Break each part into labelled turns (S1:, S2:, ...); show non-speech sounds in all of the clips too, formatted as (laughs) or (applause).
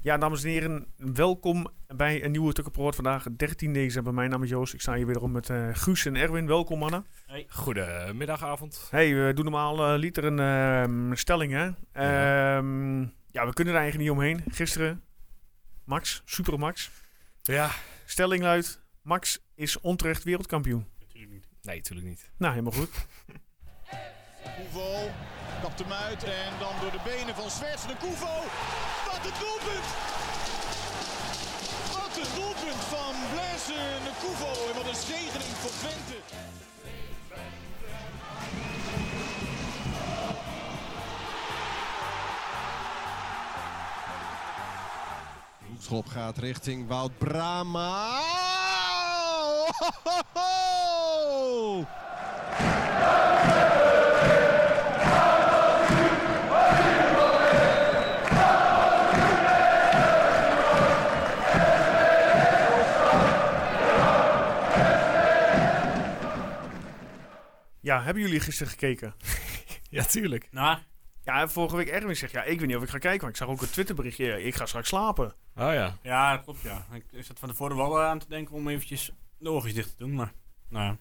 S1: Ja, dames en heren, welkom bij een nieuwe Tukkenproort vandaag, 13 december. Mijn naam is Joost, ik sta hier wederom met eh, Guus en Erwin. Welkom mannen.
S2: Goedemiddag, avond.
S1: Hey, we doen normaal eh, liter een ehm, stelling hè. Ehm, ja, we kunnen er eigenlijk niet omheen. Gisteren, Max, super Max.
S2: Ja.
S1: Stelling luidt, Max is onterecht wereldkampioen.
S2: Nee, natuurlijk niet.
S1: Nou, helemaal goed.
S3: Koevo kapt hem uit en dan door de benen van Zwerts de Koevo. Wat een doelpunt! Wat een doelpunt van Blaise de Koevo en wat een zegening voor Twente.
S4: Hoekschop gaat richting Wout Brama. Oh,
S1: Ja, hebben jullie gisteren gekeken?
S2: Ja, tuurlijk.
S5: Nou,
S1: Ja, vorige week Erwin zegt, ja, ik weet niet of ik ga kijken, maar ik zag ook een Twitterberichtje, ja, ik ga straks slapen.
S2: Oh ja.
S5: ja, dat klopt ja. Ik, ik zat van tevoren wel aan te denken om eventjes de oogjes dicht te doen, maar nou ja.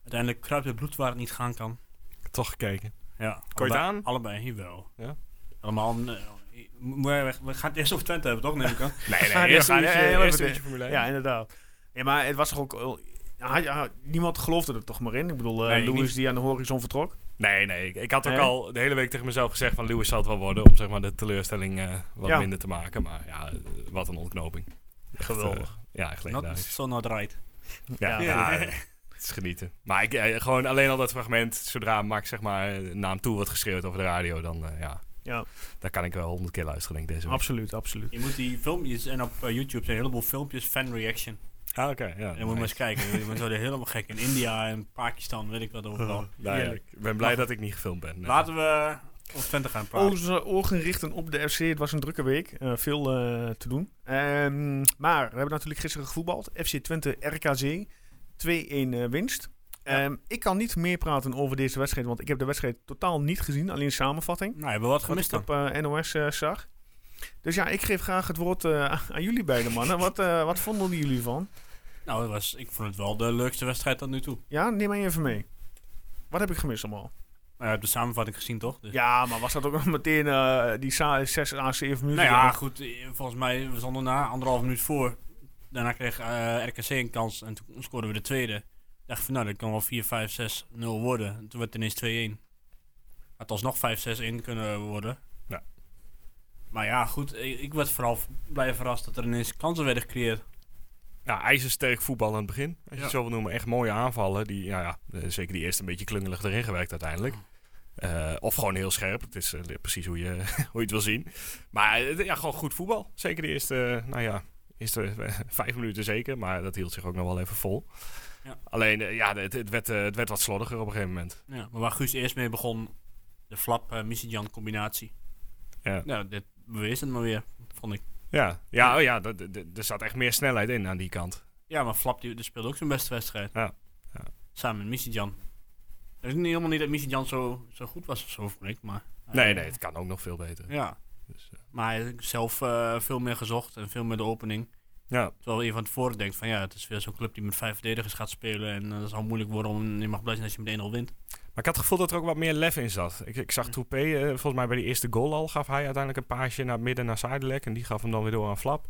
S5: Uiteindelijk kruipt het bloed waar het niet gaan kan.
S2: Toch gekeken.
S5: Ja,
S2: Kon je het
S5: allebei,
S2: aan?
S5: Allebei, hier wel.
S2: Ja.
S5: Allemaal, nee, we, we gaan het eerst over Twente hebben, toch? Neem ik aan.
S2: Nee, (laughs) nee.
S1: Ja, die
S2: eerst
S1: gaan-
S2: een uurtje,
S1: ja, ja,
S2: eh, eerst een
S1: ja,
S2: uurtje Formule 1.
S1: Ja, inderdaad. Ja, maar het was toch ook... wel- had- had- niemand geloofde er toch maar in. Ik bedoel, eh
S5: Nee, ik
S1: Lewis
S5: niet.
S1: die aan de horizon vertrok.
S2: Nee, nee. Ik, ik had ook
S1: Nee.
S2: al de hele week tegen mezelf gezegd van Lewis zal het wel worden. Om zeg maar de teleurstelling eh, wat
S1: Ja.
S2: minder te maken. Maar ja, eh, wat een ontknoping. Echt,
S1: Geweldig.
S2: eh, ja, echt
S5: Not
S2: legendarisch.
S5: so not right.
S2: Ja,
S1: Ja.
S2: ja, eh, het is genieten. Maar ik, eh, gewoon alleen al dat fragment. Zodra Max zeg maar eh, naar hem toe wordt geschreeuwd over de radio. Dan eh, ja.
S1: Ja.
S2: Daar kan ik wel honderd keer luisteren denk ik deze week.
S1: Absoluut, absoluut.
S5: Je moet die filmpjes, en op eh, YouTube zijn een heleboel filmpjes, fan reaction.
S2: Ah, oké. ja,
S5: En dan moet je maar
S2: nice.
S5: eens kijken, je worden helemaal gek. In India en Pakistan, weet ik wat overal.
S2: Nou (laughs) ja,
S1: Heerlijk.
S2: ik ben blij dat ik niet gefilmd ben. Nee.
S5: Laten we over Twente gaan praten.
S2: Oh.
S1: Onze ogen richten op de FC. Het was een drukke week. eh, veel eh, te doen. Ehm, maar we hebben natuurlijk gisteren gevoetbald. FC Twente RKC. 2-1 eh, winst. Ehm, ik kan niet meer praten over deze wedstrijd, want ik heb de wedstrijd totaal niet gezien. Alleen samenvatting.
S5: Nou, hebben we wat
S1: Wat
S5: gemist
S1: ik
S5: dan?
S1: op eh, NOS eh, zag. Dus ja, ik geef graag het woord eh, aan jullie beide mannen. Wat, eh, wat vonden jullie van?
S5: Nou, dat was, ik vond het wel de leukste wedstrijd tot nu toe.
S1: Ja, neem mij even mee. Wat heb ik gemist allemaal?
S5: Nou, je hebt de samenvatting gezien, toch? Dus-
S1: Ja, maar was dat ook (laughs) nog meteen eh, die 6 à 7 minuten?
S5: Nou ja, goed. eh, Volgens mij, we stonden na anderhalf minuut voor. Daarna kreeg eh, RKC een kans en toen scoorden we de tweede. Ik dacht van, nou, dat kan wel 4, 5, 6, 0 worden. En toen werd het ineens 2-1. Had alsnog 5, 6, 1 kunnen worden.
S2: Ja.
S5: Maar ja, goed. Ik, ik werd vooral v- blij verrast dat er ineens kansen werden gecreëerd.
S2: Ja, ijzersterk voetbal aan het begin. Als je
S5: Ja.
S2: het zo wil noemen. Echt mooie aanvallen. Die, ja, ja, eh, zeker die eerste een beetje klungelig erin gewerkt uiteindelijk.
S5: Oh.
S2: Eh, of gewoon heel scherp. Het is eh, precies hoe je, (laughs) hoe je het wil zien. Maar eh, ja, gewoon goed voetbal. Zeker de eerste, eh, nou ja, eerste eh, (laughs) vijf minuten zeker. Maar dat hield zich ook nog wel even vol.
S5: Ja.
S2: Alleen, eh, ja, het, het, werd, eh, het werd wat slordiger op een gegeven moment.
S5: Ja, maar waar Guus eerst mee begon, de flap uh, jan combinatie.
S2: Ja.
S5: Nou, dit bewees het maar weer, vond ik.
S2: Ja, ja, oh ja dat- dat- dat- er zat echt meer snelheid in aan die kant.
S5: Ja, maar Flap die, die speelde ook zijn beste wedstrijd.
S2: Ja, ja.
S5: Samen met Misijan. Het is niet helemaal niet dat Misijan zo, zo goed was of zo, vond ik. Maar, eh,
S2: Nee, nee, het kan ook nog veel beter.
S5: Ja.
S2: Dus, eh,
S5: Maar hij heeft zelf eh, veel meer gezocht en veel meer de opening.
S2: ja.
S5: Terwijl je van tevoren denkt van ja, het is weer zo'n club die met vijf verdedigers gaat spelen. En eh, dat zal moeilijk worden om je mag blij zijn als je met 1-0 wint.
S2: Maar ik had het gevoel dat er ook wat meer lef in zat. Ik, ik zag Toupé, eh, volgens mij bij die eerste goal al, gaf hij uiteindelijk een paasje naar het midden naar Zuidelek. En die gaf hem dan weer door aan Flap.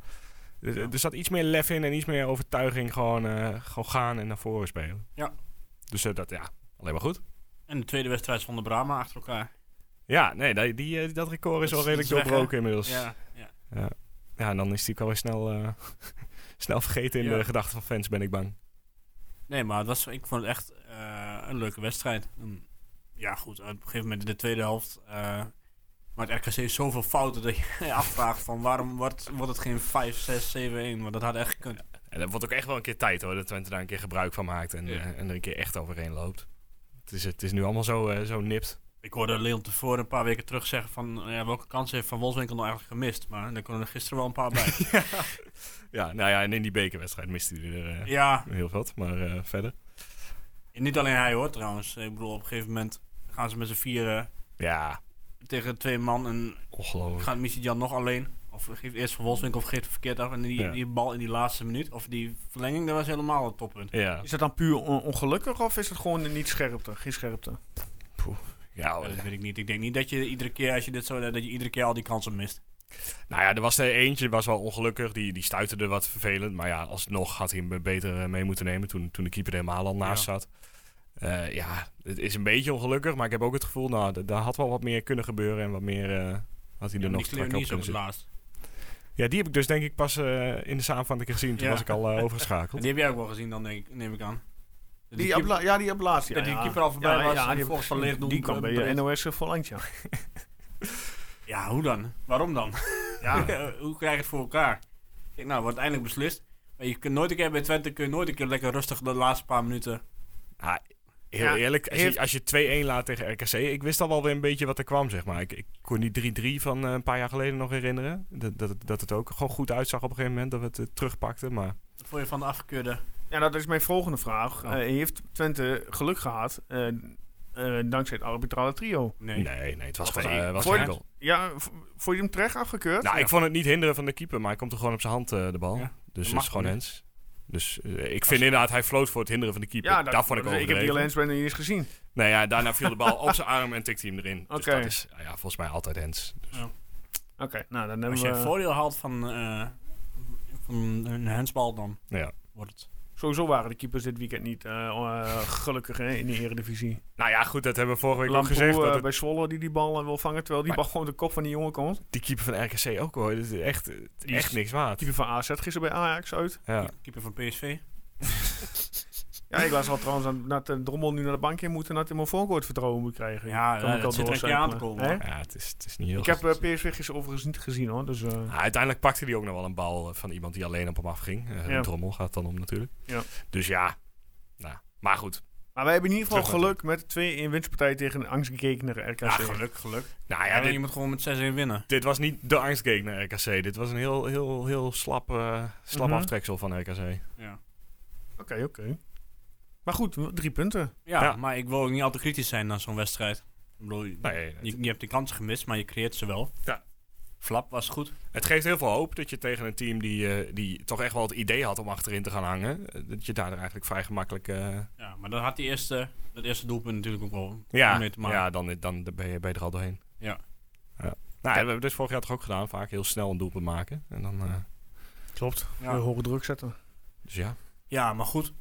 S2: Er-
S5: Ja.
S2: Er zat iets meer lef in en iets meer overtuiging. Gewoon, eh, gewoon gaan en naar voren spelen.
S5: Ja.
S2: Dus eh, dat, ja, alleen maar goed.
S5: En de tweede wedstrijd zonder Brahma achter elkaar.
S2: Ja, nee, die, die, eh, dat record is
S5: Dat
S2: al
S5: is-
S2: redelijk
S5: dat is weg,
S2: doorbroken inmiddels. Ja.
S5: Ja, ja.
S2: en dan is die ook alweer snel, eh, (laughs) snel vergeten in
S5: Ja.
S2: de gedachten van fans, ben ik bang.
S5: Nee, maar het was, ik vond het echt eh, een leuke wedstrijd. En ja, goed, op een gegeven moment in de tweede helft. eh maar het RKC heeft zoveel fouten dat je (laughs) je afvraagt van waarom wordt, wordt het geen 5, 6, 7, 1? Want dat had echt gekund.
S2: En dat wordt ook echt wel een keer tijd hoor, dat Twente daar een keer gebruik van maakt en,
S5: Ja.
S2: eh, en er een keer echt overheen loopt. Het is, het is nu allemaal zo, eh, zo nipt.
S5: Ik hoorde Leon tevoren een paar weken terug zeggen van ja, welke kans heeft Van Wolfswinkel nou eigenlijk gemist? Maar daar konden er gisteren wel een paar bij.
S2: Ja, nou ja, en in die bekerwedstrijd miste hij er eh,
S5: ja,
S2: heel wat, maar eh, verder.
S5: en niet alleen hij hoor trouwens. Ik bedoel, op een gegeven moment gaan ze met z'n vieren
S2: Ja,
S5: tegen twee man en
S2: ongelooflijk.
S5: gaat Missie Jan nog alleen. Of Of geeft eerst Van Wolfswinkel of geeft het verkeerd af. En die,
S2: Ja.
S5: die bal in die laatste minuut, of die verlenging, dat was helemaal het toppunt.
S2: Ja,
S1: Is dat dan puur on- ongelukkig of is het gewoon niet scherpte? Geen scherpte.
S2: Oh, ja eh,
S5: Ja, dat weet ik niet. Ik denk niet dat je iedere keer, als je dit zo dat je iedere keer al die kansen mist.
S2: nou ja, er was er eentje, was wel ongelukkig. Die, die stuitte er wat vervelend. Maar ja, alsnog had hij hem beter eh, mee moeten nemen toen, toen de keeper er helemaal al naast
S5: Ja.
S2: zat. Eh, ja, het is een beetje ongelukkig. Maar ik heb ook het gevoel, nou, d- daar had wel wat meer kunnen gebeuren. En wat meer eh, had hij er nog
S5: die
S2: strak op
S5: Cleonice op
S2: kunnen
S5: het
S2: zitten.
S5: laatst.
S2: Ja, die heb ik dus denk ik pas eh, in de samenvatting gezien. Toen
S5: Ja.
S2: was ik al eh,
S5: (laughs)
S2: overgeschakeld.
S5: Die heb jij ook wel gezien dan, denk ik, neem ik aan. Die,
S1: Die
S5: keep-
S1: abla- ja, die ablaatst. Ja,
S5: dat die
S1: ja.
S5: keeper al voorbij
S1: Ja,
S5: was
S1: ja,
S5: en
S1: die-
S5: volgens van licht
S1: Die kan bij eh, NOS Volland, ja.
S5: Ja, hoe dan? Waarom dan?
S1: Ja.
S5: (laughs) hoe krijg je het voor elkaar? Ik, nou, wordt eindelijk beslist. Maar je kunt nooit een keer bij Twente, kun je nooit een keer lekker rustig de laatste paar minuten.
S2: Ja, heel
S1: Ja,
S2: eerlijk, als,
S1: heeft-
S2: je, als je 2-1 laat tegen RKC, ik wist al wel weer een beetje wat er kwam, zeg maar. Ik, ik kon die 3-3 van eh, een paar jaar geleden nog herinneren. Dat, dat, het- dat het ook gewoon goed uitzag op een gegeven moment, dat we het eh, terugpakten. Maar
S5: Dat vond je van de afgekeurde.
S1: ja, dat is mijn volgende vraag.
S5: Oh.
S1: Eh, heeft Twente geluk gehad eh, eh, dankzij het arbitrale trio?
S5: Nee.
S2: nee, nee, het was,
S5: Was
S2: gewoon,
S5: er-
S2: eh, was
S1: voor-
S2: geen goal.
S1: Ja, v- vond je hem terecht afgekeurd?
S2: Nou, ik vond het niet hinderen van de keeper, maar hij komt er gewoon op zijn hand, eh, de bal.
S5: Ja,
S2: Dus het
S5: mag
S2: is gewoon
S5: niet.
S2: Hens. Dus eh, ik vind inderdaad, hij floot voor het hinderen van de keeper.
S1: ja,
S2: dat, vond ik
S1: dus
S2: ook.
S1: Ik heb die lens bijna niet eens gezien.
S2: Nee, ja, daarna viel de bal op zijn arm en tikte hij hem erin. Dus
S1: Oké.
S2: dat is ja, volgens mij altijd Hens.
S1: Oké, nou dan hebben
S5: Als je
S1: we...
S5: een voordeel haalt van, eh, van een hensbal, dan
S2: Ja.
S5: wordt het.
S1: Sowieso waren de keepers dit weekend niet eh, eh, gelukkig hè, in de eredivisie.
S2: Nou ja, goed, dat hebben we vorige week
S1: Lamproe
S2: ook gezegd.
S1: eh,
S2: dat het-
S1: bij Zwolle die die bal eh, wil vangen, terwijl die
S2: Maar-
S1: bal gewoon de kop van die jongen komt.
S2: die keeper van RKC ook hoor. Dat is echt, eh,
S1: is-
S2: echt niks waard.
S1: Keeper van AZ gisteren bij Ajax uit.
S2: Ja.
S5: Keeper van PSV.
S1: Ja, ik was al trouwens aan, dat eh, Drommel nu naar de bank in moeten en dat hij mijn voorkort vertrouwen moet krijgen.
S5: Ja,
S1: Kan
S5: eh,
S1: ik al
S5: dat zit er een keer
S1: doorcijpelen.
S5: aan te komen.
S1: Hè?
S5: hoor.
S2: ja, het is, het is niet heel
S1: Ik heb
S2: goed.
S1: eh, PSV gisteren overigens niet gezien hoor, dus... eh,
S2: Nou, uiteindelijk pakte hij ook nog wel een bal eh, van iemand die alleen op hem afging. Eh
S1: Ja.
S2: Een trommel gaat het dan om natuurlijk.
S1: Ja.
S2: Dus ja, nou, maar goed.
S1: Maar wij hebben in ieder geval
S2: Terug naar
S1: geluk met twee in winstpartij tegen een angstgekekenere RKC.
S5: Ja, geluk, geluk.
S2: Nou
S5: Ja,
S2: ja,
S5: je
S2: dit,
S5: moet gewoon met 6-1 winnen.
S2: dit was niet de angstgame naar RKC. Dit was een heel, heel, heel slap, eh, slap
S1: Mhm.
S2: aftreksel van RKC.
S5: Ja.
S1: Oké, oké. Maar goed, drie punten.
S5: Ja,
S2: Ja.
S5: maar ik wil ook niet al te kritisch zijn naar zo'n wedstrijd. Ik bedoel,
S2: Nee, het,
S5: je, je hebt de kansen gemist, maar je creëert ze wel.
S2: Ja.
S5: Flap was goed.
S2: het geeft heel veel hoop dat je tegen een team die, eh, die toch echt wel het idee had om achterin te gaan hangen. eh, Dat je daar eigenlijk vrij gemakkelijk... eh,
S5: Ja, maar dat had die eerste, dat eerste doelpunt natuurlijk ook wel
S2: Ja,
S5: mee te maken.
S2: ja dan, dan ben, je, ben je er al doorheen. ja.
S5: Ja.
S2: Nou, ja, we hebben dus vorig jaar toch ook gedaan. Vaak heel snel een doelpunt maken. En dan, eh,
S1: Klopt.
S5: Ja.
S1: We horen druk zetten.
S2: dus ja.
S5: Ja, maar goed.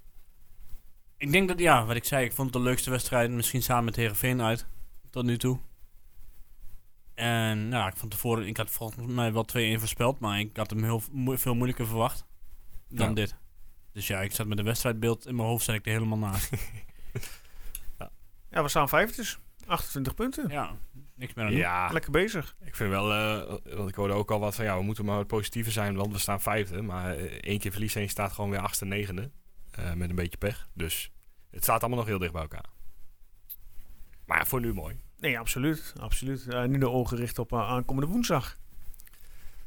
S5: Ik denk dat, ja, wat ik zei, ik vond het de leukste wedstrijd misschien samen met Heerenveen uit. Tot nu toe. En nou, ik vond tevoren, ik had volgens mij wel 2-1 voorspeld, maar ik had hem heel mo- veel moeilijker verwacht dan
S2: Ja.
S5: dit. Dus ja, ik zat met een wedstrijdbeeld in mijn hoofd, zat ik er helemaal
S2: (laughs)
S5: naast.
S1: Ja, we staan vijfdes. 28 punten.
S5: ja, niks meer aan doen.
S2: ja,
S1: Lekker bezig.
S2: ik vind wel... eh, want ik hoorde ook al wat van... Ja, we moeten maar wat positiever zijn, want we staan vijfde. Maar eh, één keer verlies en je staat gewoon weer achtste, negende. Eh, met een beetje pech. Dus het staat allemaal nog heel dicht bij elkaar. Maar voor nu mooi.
S1: Nee, absoluut. absoluut. Eh, nu de ogen gericht op eh, aankomende woensdag.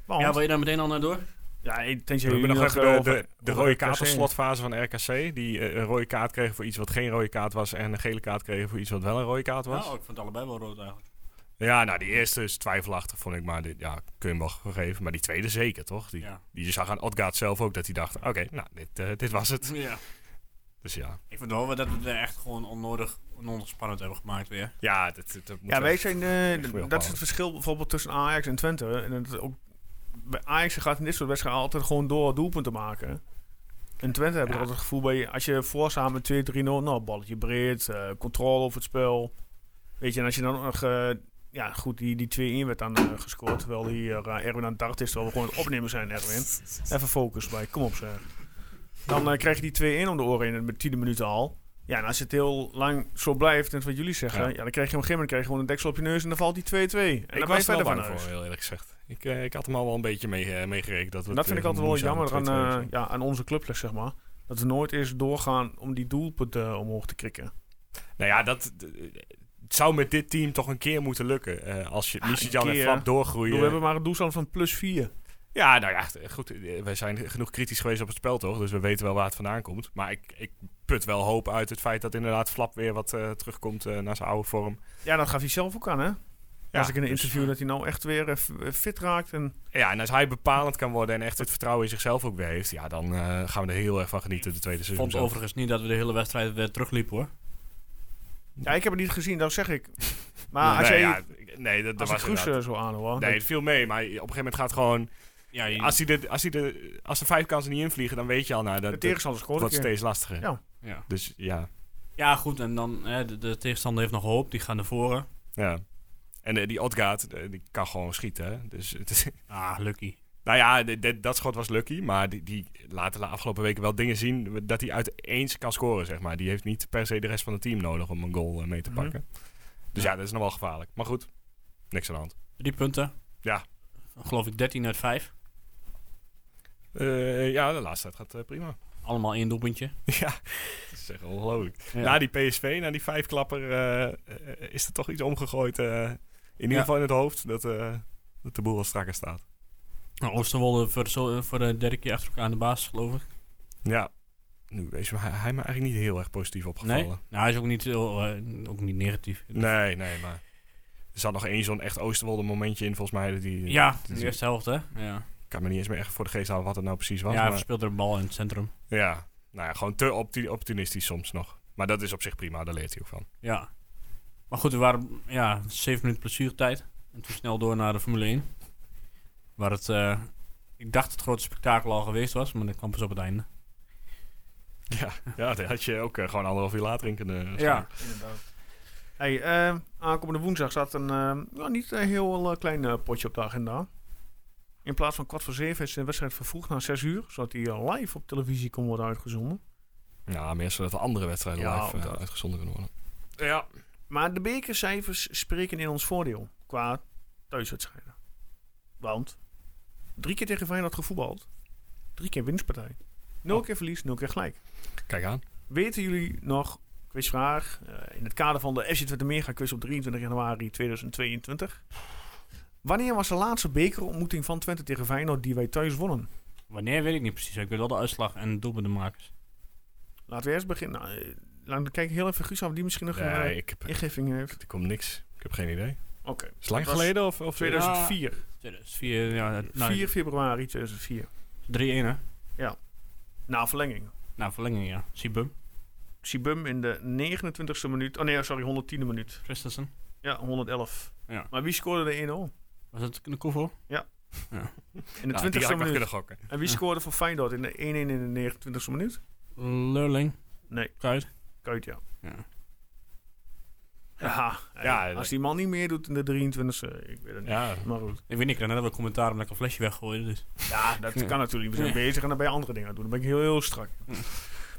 S1: Want,
S5: Ja,
S1: ja,
S5: wil je daar meteen al naar door?
S1: ik denk
S2: We
S1: dat
S2: hebben
S1: jullie
S2: nog even
S1: eh,
S2: de,
S1: over-
S2: de, de
S1: over
S2: rode
S1: RKC.
S2: kaart als slotfase van RKC. Die eh, een rode kaart kregen voor iets wat geen rode kaart was. En een gele kaart kregen voor iets wat wel een rode kaart was.
S5: Nou, ik vond het allebei wel rood eigenlijk.
S2: Ja, nou, die eerste is twijfelachtig, vond ik. Maar dit, ja, kun je hem wel geven. Maar die tweede zeker, toch? Die,
S5: Ja.
S2: die zag aan Odgaard zelf ook dat hij dacht... Oké, nou, dit, eh, dit was het.
S5: ja.
S2: Dus ja.
S5: Ik vind wel wel dat we het er echt gewoon onnodig, onnodig spannend hebben gemaakt weer.
S2: Ja, dat, dat, dat moet
S1: Ja,
S2: wel.
S1: wij zijn, eh, d-
S2: ophouden.
S1: dat is het verschil bijvoorbeeld tussen Ajax en Twente. En dat ook, bij Ajax gaat in dit soort wedstrijden altijd gewoon door doelpunten maken. En Twente hebben
S2: Ja.
S1: altijd het gevoel bij, als je voor samen 2-3-0, nou, balletje breed, eh, controle over het spel. Weet je, en als je dan nog, eh, ja goed, die, die 2-1 werd dan eh, gescoord, terwijl hier eh, Erwin aan het dart is, terwijl we gewoon het opnemen zijn, Erwin. Even focus bij, kom op zeg. Dan eh, krijg je die 2-1 om de oren in met 10 minuten al. Ja, en als het heel lang zo blijft, net wat jullie zeggen, ja.
S2: Ja.
S1: dan krijg je op een gegeven moment krijg je gewoon een deksel op je neus en dan valt die 2-2. En
S2: ik
S1: dan ben je
S2: was er wel
S1: verder van
S2: bang voor,
S1: huis.
S2: heel eerlijk gezegd. Ik, eh, ik had hem al wel een beetje mee, eh, meegerekend. Dat, we
S1: En
S2: het,
S1: dat vind ik
S2: eh,
S1: altijd wel
S2: moeizaam
S1: jammer aan,
S2: 2-2
S1: eh,
S2: zijn.
S1: ja, aan onze clubles, zeg maar. Dat we nooit eerst doorgaan om die doelpunten eh, omhoog te krikken.
S2: Nou ja, dat... d- het zou met dit team toch een keer moeten lukken. eh, als je
S1: Ah,
S2: Michijan
S1: een
S2: en
S1: keer.
S2: Flap
S1: Ik
S2: doorgroeien.
S1: bedoel, We hebben maar een doelstand van plus 4.
S2: Ja, nou ja, t- goed. eh, Wij zijn genoeg kritisch geweest op het spel, toch? Dus we weten wel waar het vandaan komt. Maar ik, ik put wel hoop uit het feit dat inderdaad Flap weer wat eh, terugkomt eh, naar zijn oude vorm.
S1: Ja, dat gaf hij zelf ook aan, hè?
S2: Ja,
S1: Als ik in een
S2: dus-
S1: interview dat hij nou echt weer eh, f- eh, fit raakt. En
S2: Ja, en als hij bepalend kan worden en echt het vertrouwen in zichzelf ook weer heeft, ja, dan eh, gaan we er heel erg van genieten de tweede
S5: Ik
S2: seizoen.
S5: vond
S2: zelf.
S5: overigens niet dat we de hele wedstrijd weer terugliepen hoor.
S1: ja, ik heb het niet gezien, dat zeg
S2: (laughs)
S1: ik. Maar Ah, als
S2: nee,
S1: jij
S2: ja, ik- nee, dat, dat
S1: als ik
S2: was
S1: Kroes
S2: inderdaad-
S1: eh, zo aanhoor.
S2: Nee, het viel mee, maar op een gegeven moment gaat gewoon...
S5: Ja, die-
S2: Als, hij de, als, hij de, als de vijf kansen niet invliegen, dan weet je al, nou,
S1: de
S2: dat, dat
S1: tegenstander scoort een
S2: wordt
S1: keer.
S2: steeds lastiger.
S1: Ja.
S5: ja.
S2: Dus ja,
S5: ja, goed. En dan, hè, de, de tegenstander heeft nog hoop. Die gaan naar voren.
S2: ja. En eh, die Odgaard, eh, die kan gewoon schieten, hè. Dus het is- (laughs)
S5: Ah, lucky.
S2: Nou ja, d- d- dat schot was lucky, maar die, die laat de afgelopen weken wel dingen zien dat hij uit eens kan scoren, zeg maar. Die heeft niet per se de rest van het team nodig om een goal eh, mee te
S1: Mhm.
S2: pakken. Dus ja, dat is nog wel gevaarlijk. Maar goed, niks aan de hand.
S5: Drie punten.
S2: Ja.
S5: Dan geloof ik 13 uit 5.
S2: Eh, ja, de laatste tijd gaat eh, prima.
S5: Allemaal één doelpuntje.
S2: (laughs) ja, dat is echt ongelooflijk.
S5: Ja.
S2: Na die PSV, na die vijfklapper, eh, eh, is er toch iets omgegooid. eh, in ieder
S5: Ja.
S2: geval in het hoofd dat, eh, dat de boel wel strakker staat.
S5: Nou, Oosterwolde voor, zo- voor de derde keer achter elkaar aan de baas, geloof ik.
S2: Ja, nu is hij, hij me eigenlijk niet heel erg positief opgevallen.
S5: Nee? Nou, hij is ook niet, heel, eh, ook niet negatief.
S2: Nee, nee, maar er zat nog één zo'n echt Oosterwolde momentje in, volgens mij. dat Die,
S5: Ja, in
S2: die-
S5: de eerste helft, hè? Ja,
S2: Ik kan me niet eens meer echt voor de geest halen wat het nou precies was.
S5: ja hij
S2: maar,
S5: verspeelde een bal in het centrum.
S2: ja, nou ja, gewoon te opti- optimistisch soms nog. Maar dat is op zich prima, daar leert hij ook van.
S5: Ja. Maar goed, we waren ja, zeven minuten pleziertijd. En toen snel door naar de Formule 1. Waar het, eh, ik dacht het grote spektakel al geweest was, maar dat kwam pas op het einde.
S2: Ja, ja dat had je ook eh, gewoon anderhalf uur later in kunnen
S5: Ja.
S1: Inderdaad. Hey, eh, aankomende woensdag staat een eh, nou, niet een heel eh, klein eh, potje op de agenda. In plaats van kwart voor zeven is de wedstrijd vervroegd naar zes uur, zodat die eh, live op televisie kon worden uitgezonden.
S2: Ja, meer zodat de andere wedstrijden
S1: Ja,
S2: live eh,
S1: inderdaad.
S2: uitgezonden kunnen worden. Ja.
S1: Maar de bekercijfers spreken in ons voordeel qua thuiswedstrijden. Want drie keer tegen Feyenoord gevoetbald, drie keer winstpartij.
S2: Oh.
S1: Nul keer verlies, nul keer gelijk.
S2: Kijk aan.
S1: Weten jullie nog, quizvraag, eh, in het kader van de FC Twente Mega quiz op 23 januari 2022. Wanneer was de laatste bekerontmoeting van Twente tegen Feyenoord die wij thuis wonnen?
S5: Wanneer weet ik niet precies. Ik weet wel de uitslag en de doelpuntenmakers.
S1: Laten we eerst beginnen. Nou, eh, laat ik kijken heel even Guus aan of die misschien nog een
S2: Nee,
S1: eh,
S2: ik heb,
S1: ingeving heeft.
S2: er komt niks. Ik heb geen idee.
S1: Oké.
S2: Is het lang
S1: Dat was
S2: geleden of, of
S1: 2004.
S5: 2004, ja, nou,
S1: 4 februari 2004.
S5: 3-1 hè?
S1: Na verlenging.
S5: Nou, verlenging ja. Sibum,
S1: Sibum in de 29e minuut. Oh nee, sorry, 110e minuut.
S5: Christensen.
S1: Ja, 111.
S5: Ja.
S1: Maar wie scoorde de 1-0?
S5: Was dat een Koevo?
S1: In de
S2: Ja,
S1: 20e
S2: die had ik nog
S1: minuut.
S2: kunnen gokken.
S1: En wie
S5: Ja.
S1: scoorde voor Feyenoord in de 1-1 in de 29e minuut?
S5: Leurling.
S1: Nee.
S5: Kruid.
S1: Kuit, ja.
S5: Ja.
S1: Ja,
S2: Ja,
S1: als die man niet meer doet in de 23e, ik weet het niet.
S2: Ja,
S1: Maar goed,
S5: Ik weet niet, ik kreeg net wel commentaar omdat ik een flesje weggooide. Dus.
S1: ja, dat
S5: Ja.
S1: kan natuurlijk. We zijn
S5: Ja.
S1: bezig en dan ben je andere dingen aan het doen. Dan ben ik heel, heel strak.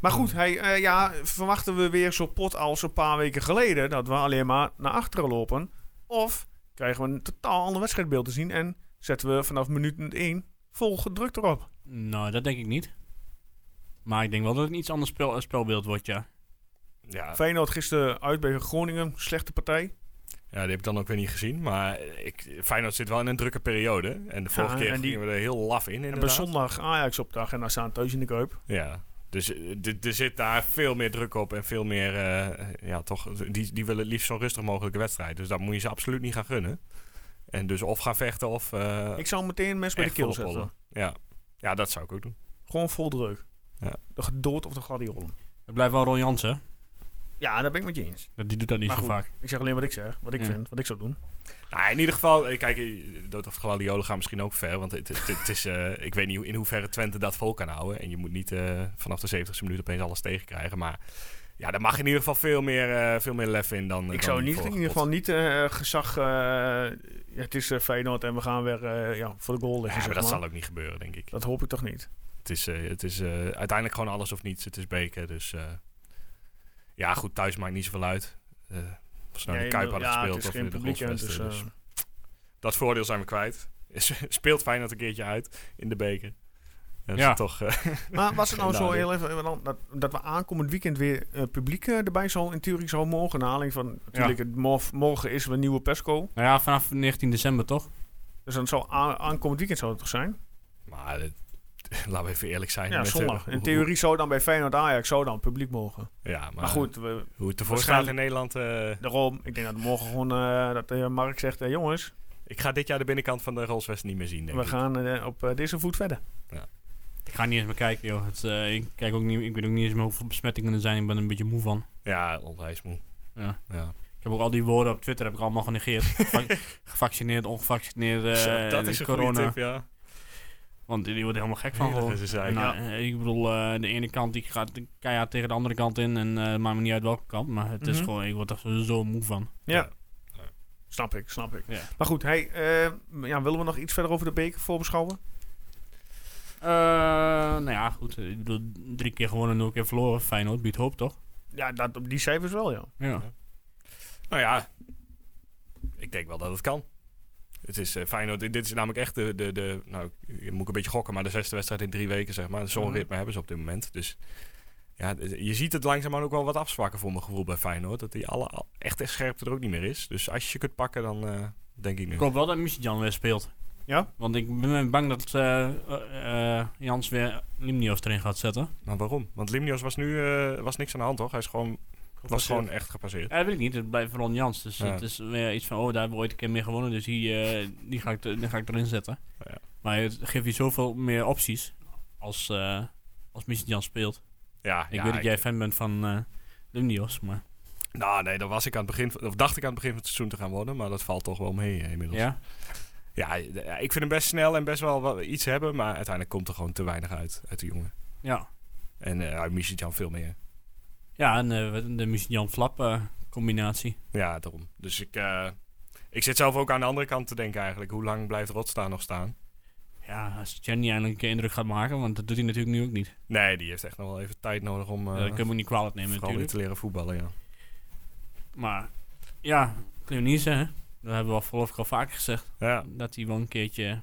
S1: Maar goed, hey, eh, ja, verwachten we weer zo pot als een paar weken geleden... dat we alleen maar naar achteren lopen? Of krijgen we een totaal ander wedstrijdbeeld te zien... en zetten we vanaf minuut 1 vol gedrukt erop?
S5: Nou, dat denk ik niet. Maar ik denk wel dat het een iets ander spel, eh, spelbeeld wordt, ja.
S2: ja.
S1: Feyenoord gisteren uit bij Groningen, slechte partij.
S2: Ja, die heb ik dan ook weer niet gezien. Maar ik, Feyenoord zit wel in een drukke periode. En de vorige
S1: Ja,
S2: keer
S1: en die-
S2: gingen we er heel laf in,
S1: En bij
S2: inderdaad.
S1: zondag Ajax op de agenda staan thuis in de Kuip.
S2: Ja, dus eh, d- er zit daar veel meer druk op. En veel meer, eh, ja toch, die, die willen het liefst zo rustig mogelijke wedstrijd. Dus daar moet je ze absoluut niet gaan gunnen. En dus of gaan vechten of eh
S1: Ik zou meteen mensen bij de
S2: echt
S1: keel
S2: volopollen.
S1: zetten.
S2: Ja. ja, dat zou ik ook doen.
S1: Gewoon vol druk.
S2: Ja.
S1: De gedood of de gladiolen.
S5: Het blijft wel Ron Jansen.
S1: Ja, daar ben ik met je eens.
S5: Die doet dat niet
S1: Maar
S5: zo
S1: goed.
S5: vaak.
S1: Ik zeg alleen wat ik zeg, wat ik
S5: Ja.
S1: vind, wat ik zou doen.
S2: Nou, in ieder geval, eh, kijk, eh, Dood of Gladiolen gaan misschien ook ver. Want het, het, het is, eh, ik weet niet hoe- in hoeverre Twente dat vol kan houden. En je moet niet eh, vanaf de 70ste minuut opeens alles tegenkrijgen. Maar ja, daar mag in ieder geval veel meer, eh, veel meer lef in dan. eh,
S1: ik
S2: dan
S1: zou
S2: die
S1: niet, in
S2: vorige
S1: ieder geval
S2: pot.
S1: niet eh, gezag. eh, ja, het is eh, Feyenoord en we gaan weer eh, ja, voor de goal
S2: Ja,
S1: liggen. zeg
S2: maar dat
S1: maar.
S2: zal ook niet gebeuren, denk ik.
S1: Dat hoop ik toch niet.
S2: Het is, eh, het is eh, uiteindelijk gewoon alles of niets. Het is beker, dus... eh, ja, goed, thuis maakt niet zoveel uit. Eh of ze nou in
S1: Nee,
S2: de Kuip hadden
S1: ja,
S2: gespeeld
S1: het is
S2: of
S1: geen
S2: in de
S1: publiek, hè,
S2: Grolsvesten,
S1: dus,
S2: dus
S1: eh,
S2: Dat voordeel zijn we kwijt. (laughs) Speelt Feyenoord een keertje uit in de beker. Ja, dat is
S5: Ja.
S2: toch... eh,
S1: Maar was
S2: (laughs)
S1: het nou
S2: Geen
S1: zo
S2: nadeel.
S1: heel even eh, dan, dat, dat we aankomend weekend weer eh, publiek eh, erbij zou in theorie zou mogen? Naar aanleiding van natuurlijk, het, morf- morgen is er een nieuwe PESCO.
S5: Nou ja, vanaf 19 december toch?
S1: Dus dan zou a- aankomend weekend zou het toch zijn?
S2: Maar het, (laughs) laten we even eerlijk zijn.
S1: Ja,
S2: met, eh,
S1: zondag.
S2: hoe-
S1: In theorie zou dan bij Feyenoord Ajax zou dan publiek mogen.
S2: hoe- Ja, maar,
S1: Maar goed, we,
S2: Hoe het ervoor staat in
S1: waarschijnlijk-
S2: Nederland. eh,
S1: daarom, ik denk dat morgen gewoon eh, dat eh, Mark zegt, eh, jongens,
S2: ik ga dit jaar de binnenkant van de Rolswest niet meer zien, denk
S1: we
S2: ik.
S1: gaan eh, op eh, deze voet verder.
S5: Ik ga niet eens meer kijken, joh. Het, eh, ik, kijk ook niet, ik weet ook niet eens meer hoeveel besmettingen er zijn. Ik ben er een beetje moe van.
S2: Ja, onwijs moe.
S5: Ja.
S2: Ja.
S5: Ik heb ook al die woorden op Twitter heb ik allemaal (laughs) genegeerd. Va- Gevaccineerd, ongevaccineerd, eh,
S2: Zo, dat is een goede
S5: corona.
S2: tip, ja.
S5: Want die die worden helemaal gek van
S2: Van
S5: gewoon.
S2: dat is eigenlijk.
S5: Nou, eh, Ik bedoel, eh, de ene kant die gaat keihard tegen de andere kant in. En eh maakt me niet uit welke kant. Maar het is
S1: Mhm.
S5: gewoon, ik word er zo moe van.
S1: Ja. Snap ik, snap ik.
S5: Ja.
S1: Maar goed, hey, eh, ja, willen we nog iets verder over de beker voorbeschouwen?
S5: Eh, nou ja, goed. Ik bedoel, drie keer gewonnen en nul keer verloren. Feyenoord biedt hoop, toch?
S1: Ja, dat, op die cijfers wel, ja.
S5: Ja.
S2: Nou ja, ik denk wel dat het kan. Het is eh, Feyenoord. Dit is namelijk echt de, de, de... Nou, je moet een beetje gokken, maar de zesde wedstrijd in drie weken, zeg maar. Zo'n
S1: Mhm.
S2: ritme hebben ze op dit moment. Dus ja, d- je ziet het langzaamaan ook wel wat afzwakken voor mijn gevoel bij Feyenoord. Dat die alle, al- echt, echt scherpte er ook niet meer is. Dus als je je kunt pakken, dan eh, denk ik nu.
S5: Ik hoop wel dat Michijan weer speelt.
S1: Ja?
S5: Want ik ben bang dat eh, eh, eh, Jans weer Limnios erin gaat zetten.
S2: Maar waarom? Want Limnios was nu eh, was niks aan de hand, toch? Hij is gewoon, was gewoon echt gepasseerd.
S5: Ja, dat weet ik niet. Het blijft Ron Jans. Dus
S2: Ja.
S5: het is weer iets van, oh, daar hebben we ooit een keer mee gewonnen. Dus die, eh, die, ga, ik, er- die ga ik erin zetten.
S2: Ja.
S5: Maar het geeft je zoveel meer opties als, eh als Michijan speelt.
S2: Ja,
S5: Ik
S2: ja,
S5: weet dat jij fan bent van eh Limnios, maar...
S2: Nou, nee, dat was ik aan het begin, van- of dacht ik aan het begin van het seizoen te gaan worden, maar dat valt toch wel mee eh, inmiddels.
S5: Ja?
S2: Ja, eh, d- ja, ik vind hem best snel en best wel wat, iets hebben, maar uiteindelijk komt er gewoon te weinig uit, uit de jongen.
S5: Ja.
S2: En eh uit Jan veel meer.
S5: Ja, en eh, de Michijan-Flap eh, combinatie.
S2: Ja, daarom. Dus ik, eh, ik zit zelf ook aan de andere kant te denken eigenlijk. Hoe lang blijft Rotstaan nog staan?
S5: Ja, als Jenny eindelijk een keer indruk gaat maken, want dat doet hij natuurlijk nu ook niet.
S2: Nee, die heeft echt nog wel even tijd nodig om eh,
S5: Eh, dat kun je hem ook niet kwalijk nemen
S2: vooral weer
S5: natuurlijk.
S2: te leren voetballen, ja.
S5: Maar ja, Cleonice, hè? dat hebben we al voorlopig al vaker gezegd.
S2: Ja,
S5: Dat hij wel een keertje...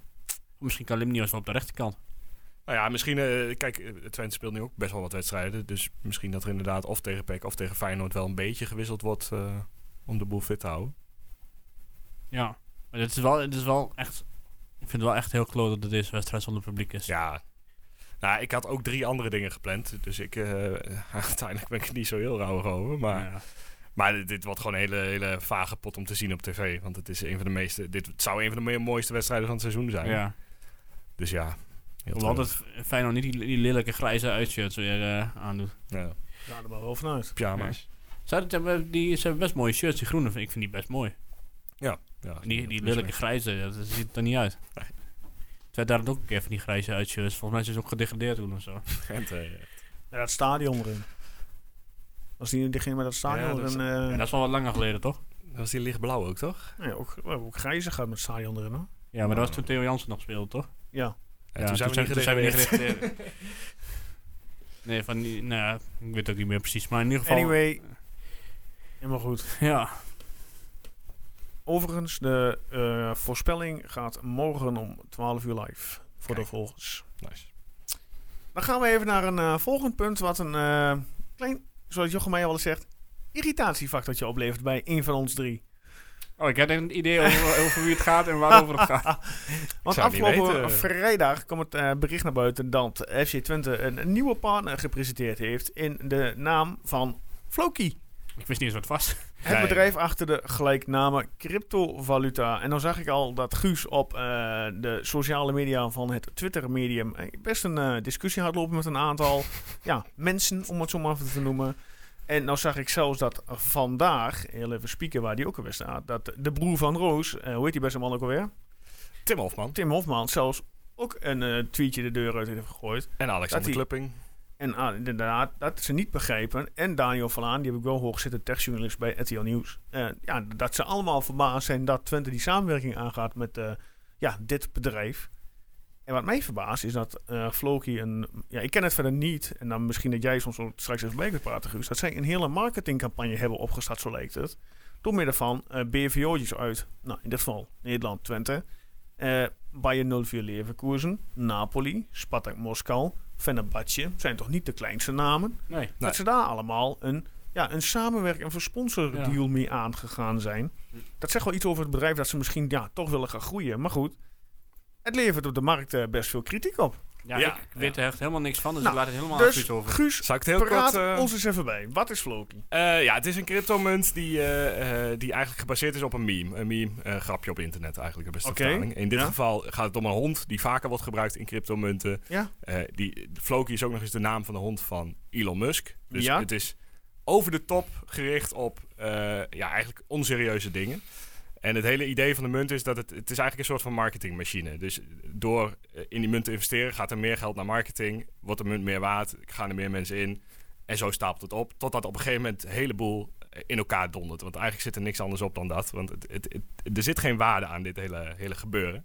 S5: Misschien kan Limnios wel op de rechterkant.
S2: nou ja, misschien... eh, kijk, eh, Twente speelt nu ook best wel wat wedstrijden. Dus misschien dat er inderdaad of tegen PEC of tegen Feyenoord wel een beetje gewisseld wordt eh, om de boel fit te houden.
S5: Ja. Maar het is wel, het is wel echt... Ik vind het wel echt heel kloot dat het deze wedstrijd zonder publiek is.
S2: Ja. Nou, ik had ook drie andere dingen gepland. Dus ik, eh, (laughs) uiteindelijk ben ik er niet zo heel rauwig over. Maar,
S5: Ja.
S2: maar dit, dit wordt gewoon een hele, hele vage pot om te zien op tv. Want het is een van de meeste. Dit zou een van de meer mooiste wedstrijden van het seizoen zijn.
S5: ja.
S2: Dus ja. heel
S5: Hoewel dat
S2: treurig.
S5: Feyenoord niet die, die lelijke grijze uitshirts weer eh, aandoet.
S2: Ja,
S1: Ja, daar ben ik wel vanuit.
S2: pyjama's.
S5: Zou dat, hebben- die, ze hebben best mooie shirts, die groene. vind Ik vind die best mooi.
S2: Ja,
S5: Die, die lelijke grijze, dat dat ziet er niet uit.
S2: Nee.
S5: Terwijl daar had ook een keer van die grijze uitshirts. Volgens mij zijn ze ook gedegradeerd toen of zo.
S2: Gente, ja.
S1: Ja, dat stadion erin. Was die degene met dat stadion
S2: Ja, dat is-
S1: erin? eh,
S5: En dat is wel wat langer geleden, toch?
S2: Dat was die lichtblauw ook, toch?
S1: nee, ook, we hebben ook grijze gehad met het stadion erin, hoor.
S5: Ja, maar dat was toen Theo Jansen nog speelde, toch?
S1: Ja.
S2: En toen zijn we niet gedegradeerd. (laughs)
S5: gedegradeerd. nee, van die... Nou ja, ik weet het ook niet meer precies. Maar in ieder geval...
S1: Anyway, helemaal goed.
S5: Ja.
S1: Overigens, de eh, voorspelling gaat morgen om 12 uur live voor
S2: Kijk.
S1: de volgers.
S2: Nice.
S1: Dan gaan we even naar een eh, volgend punt, wat een eh, klein, zoals Jochem mij al eens zegt, irritatiefactortje oplevert bij een van ons drie.
S5: Oh, ik heb een idee over, over wie het gaat en waarover het
S1: (laughs)
S5: gaat.
S1: Want
S2: zou het niet
S1: afgelopen
S2: weten.
S1: vrijdag kwam het eh, bericht naar buiten dat FC Twente een nieuwe partner gepresenteerd heeft in de naam van Floki.
S5: Ik wist niet eens wat het was.
S1: Het
S2: Ja, ja.
S1: bedrijf achter de gelijkname cryptovaluta. En dan zag ik al dat Guus op eh, de sociale media van het Twitter-medium eh, best een eh, discussie had lopen met een aantal ja, mensen, om het zo maar even te noemen. En nou zag ik zelfs dat vandaag, heel even spieken waar die ook alweer staat, dat de broer van Roos, eh, hoe heet die beste man ook alweer?
S2: Tim Hofman
S1: Tim Hofman, zelfs ook een eh, tweetje de deur uit heeft gegooid.
S2: en Alexander
S1: die-
S2: Klupping.
S1: En ah, inderdaad, dat ze niet begrepen. En Daniel van Laan, die heb ik wel hoog zitten, techjournalist bij RTL Nieuws. Eh, ja, dat ze allemaal verbaasd zijn dat Twente die samenwerking aangaat met eh, ja, dit bedrijf. En wat mij verbaast is dat eh Floki een... Ja, ik ken het verder niet. En dan misschien dat jij soms ook straks even mee kunt praten, Guus. Dat zij een hele marketingcampagne hebben opgestart, zo leek het. Door middel van eh BVO'tjes uit, nou in dit geval Nederland, Twente. eh Bayern 04 Leverkusen, Napoli, Spartak Moskou, Fenerbahce. Zijn toch niet de kleinste namen?
S5: Nee.
S2: Nee.
S1: Dat ze daar allemaal een, ja, een samenwerking, een sponsordeal mee aangegaan zijn. Dat zegt wel iets over het bedrijf dat ze misschien ja, toch willen gaan groeien. Maar goed, Het levert op de markt eh, best veel kritiek op.
S5: Ja,
S2: Ja.
S5: ik weet er echt helemaal niks van, dus
S1: Nou,
S5: ik laat het helemaal
S1: dus
S5: absoluut over.
S1: Guus,
S2: Zou ik het heel
S1: praat
S2: kort... eh,
S1: ons eens even bij. Wat is Floki?
S2: Eh, ja, het is een cryptomunt die, eh, eh, die eigenlijk gebaseerd is op een meme. Een meme, eh, grapje op internet eigenlijk, de beste
S1: Oké,
S2: vertaling. In dit
S1: ja.
S2: geval gaat het om een hond die vaker wordt gebruikt in cryptomunten.
S1: Ja.
S2: Eh, die, Floki is ook nog eens de naam van de hond van Elon Musk. Dus
S1: Ja.
S2: het is over de top gericht op eh, ja, eigenlijk onserieuze dingen. En het hele idee van de munt is dat het, het is eigenlijk een soort van marketingmachine. Dus door eh, in die munt te investeren gaat er meer geld naar marketing. Wordt de munt meer waard, gaan er meer mensen in. En zo stapelt het op, totdat op een gegeven moment een heleboel eh, in elkaar dondert. Want eigenlijk zit er niks anders op dan dat. Want het, het, het- er zit geen waarde aan dit hele, hele gebeuren.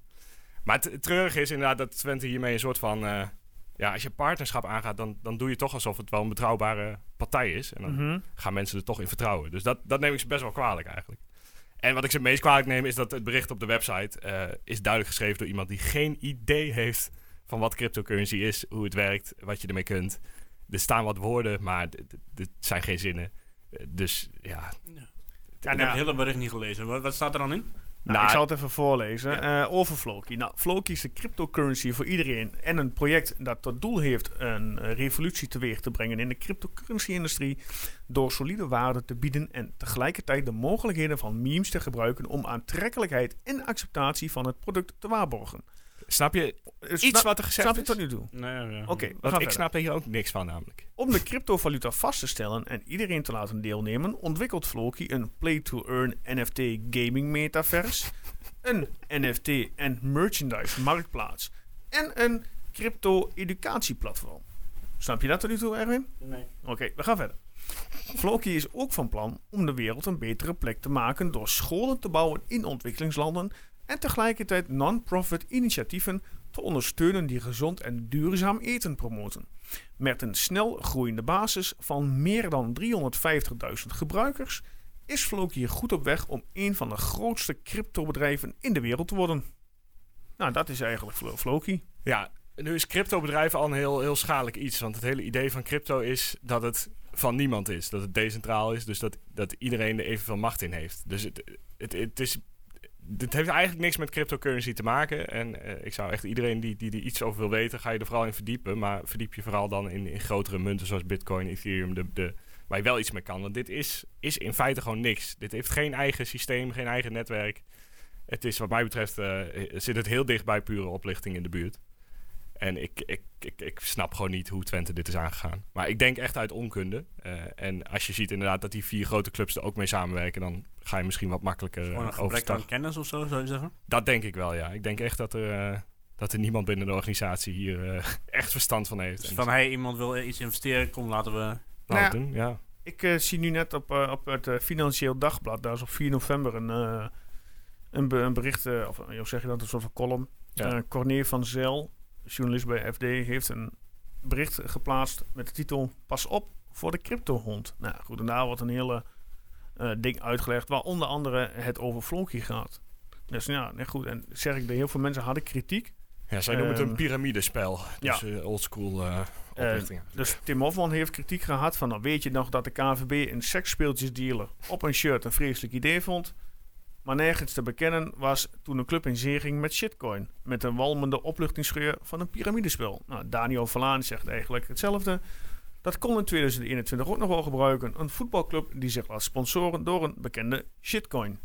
S2: Maar het, het treurige is inderdaad dat Twente hiermee een soort van... eh, ja, als je partnerschap aangaat, dan, dan doe je toch alsof het wel een betrouwbare partij is. En dan
S1: Mhm.
S2: gaan mensen er toch in vertrouwen. Dus dat, dat neem ik ze best wel kwalijk eigenlijk. En wat ik ze het meest kwalijk neem is dat het bericht op de website eh, is duidelijk geschreven door iemand die geen idee heeft van wat cryptocurrency is, hoe het werkt, wat je ermee kunt. Er staan wat woorden, maar d- d- dit zijn geen zinnen. Eh, Dus ja,
S5: ik
S1: eh,
S5: heb het hele bericht niet gelezen. Wat, wat staat er dan in?
S1: Nou,
S2: Nou,
S1: ik zal het even voorlezen. Eh, over Floki. Nou, Floki is de cryptocurrency voor iedereen en een project dat tot doel heeft een eh, revolutie teweeg te brengen in de cryptocurrency-industrie door solide waarden te bieden en tegelijkertijd de mogelijkheden van memes te gebruiken om aantrekkelijkheid en acceptatie van het product te waarborgen.
S2: snap je
S1: Eh,
S2: iets
S1: snap,
S2: wat er gezegd
S1: snap je
S2: is? Mhm.
S1: tot nu toe? Oké,
S5: Nee, ja.
S1: we gaan
S2: Want ik
S1: verder.
S2: snap hier ook niks van namelijk.
S1: Om de cryptovaluta vast te stellen en iedereen te laten deelnemen, ontwikkelt Floki een play-to-earn NFT gaming metaverse, een NFT en merchandise marktplaats en een crypto-educatieplatform. Snap je dat tot nu toe, Erwin?
S5: Nee.
S1: Oké, we gaan verder. Floki is ook van plan om de wereld een betere plek te maken door scholen te bouwen in ontwikkelingslanden en tegelijkertijd non-profit initiatieven te ondersteunen die gezond en duurzaam eten promoten. Met een snel groeiende basis van meer dan 350.000 gebruikers is Floki goed op weg om een van de grootste cryptobedrijven in de wereld te worden. Nou, dat is eigenlijk Flo- Floki.
S2: Ja, nu is cryptobedrijven al een heel, heel schadelijk iets. Want het hele idee van crypto is dat het van niemand is. Dat het decentraal is, dus dat, dat iedereen er evenveel macht in heeft. Dus het, het, het is... Dit heeft eigenlijk niks met cryptocurrency te maken. En eh, ik zou echt iedereen die, die er iets over wil weten, ga je er vooral in verdiepen. Maar verdiep je vooral dan in, in grotere munten zoals Bitcoin, Ethereum, de, de, waar je wel iets mee kan. Want dit is, is in feite gewoon niks. Dit heeft geen eigen systeem, geen eigen netwerk. Het is wat mij betreft, eh, zit het heel dicht bij pure oplichting in de buurt. En ik, ik, ik, ik snap gewoon niet hoe Twente dit is aangegaan. Maar ik denk echt uit onkunde. Eh, en als je ziet inderdaad dat die vier grote clubs er ook mee samenwerken, dan ga je misschien wat makkelijker
S5: Gewoon een
S2: eh,
S5: gebrek aan
S2: overstag.
S5: kennis of zo, zou je zeggen?
S2: Dat denk ik wel, ja. Ik denk echt dat er, eh, dat er niemand binnen de organisatie hier eh, echt verstand van heeft.
S5: Dus
S2: En
S5: van, hey, iemand wil eh, iets investeren, kom, laten we...
S2: laat het
S1: Nou
S2: doen, ja.
S1: Ik eh, zie nu net op, eh, op het eh, Financieel Dagblad, daar is op 4 november een, eh, een, be- een bericht, eh, of eh, hoe zeg je dat, een soort van column.
S2: Ja.
S1: Eh, Corné van Zel, journalist bij FD, heeft een bericht geplaatst met de titel Pas op voor de cryptohond. Nou goed, en daar wordt een hele eh, ding uitgelegd waar onder andere het over Flonky gaat. Dus ja, nee, goed. En zeg ik, de heel veel mensen hadden kritiek.
S2: ja zij noemen het
S1: Ehm,
S2: een piramidespel. Dus eh, oldschool eh oprichting.
S1: Dus Tim Hofman heeft kritiek gehad van... dan weet je nog dat de KVB een seksspeeltjesdealer op een shirt een vreselijk idee vond... maar nergens te bekennen was toen een club in zee ging met shitcoin... met een walmende opluchtingsgeur van een piramidespel. Nou, Daniel Verlaan zegt eigenlijk hetzelfde. Dat kon in 2021 ook nog wel gebruiken. Een voetbalclub die zich laat sponsoren door een bekende shitcoin.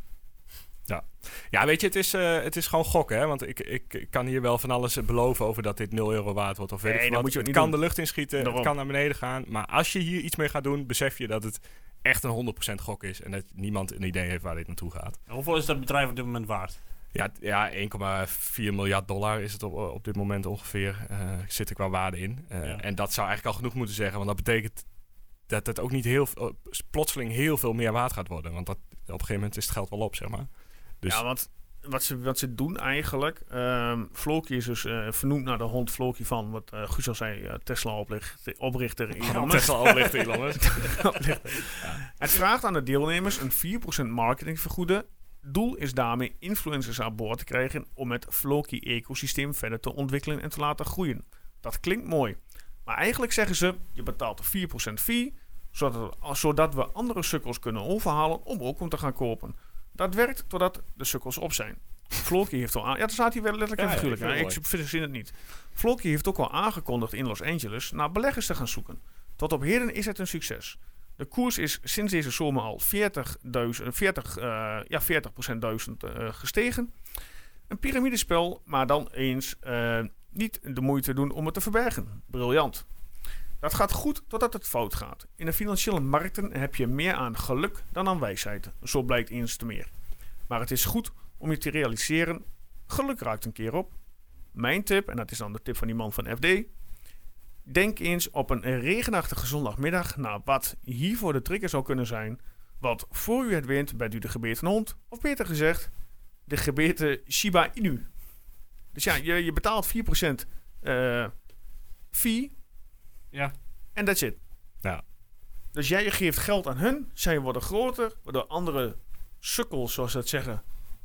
S2: Ja, weet je, het is, eh, het is gewoon gokken, hè? Want ik, ik, ik kan hier wel van alles beloven over dat dit 0 euro waard wordt of weet
S1: Nee,
S2: ik
S1: dat
S2: wat.
S1: moet je ook
S2: het
S1: niet
S2: kan de lucht inschieten,
S1: Daarom.
S2: het kan naar beneden gaan. Maar als je hier iets mee gaat doen, besef je dat het echt een 100% gok is en dat niemand een idee heeft waar dit naartoe gaat.
S5: En Hoeveel is dat bedrijf op dit moment waard?
S2: Ja, t- ja 1,4 miljard dollar is het op, eh, op dit moment ongeveer, eh, zit er qua waarde in. Eh,
S5: Ja.
S2: En dat zou eigenlijk al genoeg moeten zeggen, want dat betekent dat het ook niet heel, v- eh, plotseling heel veel meer waard gaat worden. Want dat, op een gegeven moment is het geld wel op, zeg maar. Dus
S1: Ja, want wat ze, wat ze doen eigenlijk... ehm Floki is dus eh, vernoemd naar de hond Floki van... wat eh Guus al zei, eh, Tesla-oprichter oprichter Elon Musk.
S2: Tesla oplichting, jongens.
S1: (laughs) Het vraagt aan de deelnemers een 4% marketingvergoeden. Doel is daarmee influencers aan boord te krijgen om het Floki-ecosysteem verder te ontwikkelen en te laten groeien. Dat klinkt mooi. Maar eigenlijk zeggen ze, je betaalt de 4% fee, zodat, zodat we andere sukkels kunnen overhalen om ook om te gaan kopen. Dat werkt totdat de sukkels op zijn. Floorkey heeft al aan... Ja, daar staat hij wel letterlijk en
S2: Ja, ja,
S1: figuurlijk.
S2: ik
S1: Ja,
S2: vind
S1: ik
S2: het
S1: verzin het niet. Floorkey heeft ook al aangekondigd in Los Angeles naar beleggers te gaan zoeken. Tot op heden is het een succes. De koers is sinds deze zomer al 40.000, 40, eh, ja, 40% duizend eh, gestegen. Een piramidespel, maar dan eens eh, niet de moeite doen om het te verbergen. Briljant. Dat gaat goed totdat het fout gaat. In de financiële markten heb je meer aan geluk dan aan wijsheid. Zo blijkt eens te meer. Maar het is goed om je te realiseren: geluk raakt een keer op. Mijn tip, en dat is dan de tip van die man van FD. Denk eens op een regenachtige zondagmiddag naar wat hiervoor de trigger zou kunnen zijn. Want voor u het wint, bent u de gebeten hond. Of beter gezegd, de gebeten Shiba Inu. Dus ja, je, je betaalt 4% eh fee
S2: Ja.
S1: en that's it.
S2: Ja.
S1: Dus jij geeft geld aan hun, zij worden groter, waardoor andere sukkels, zoals ze dat zeggen,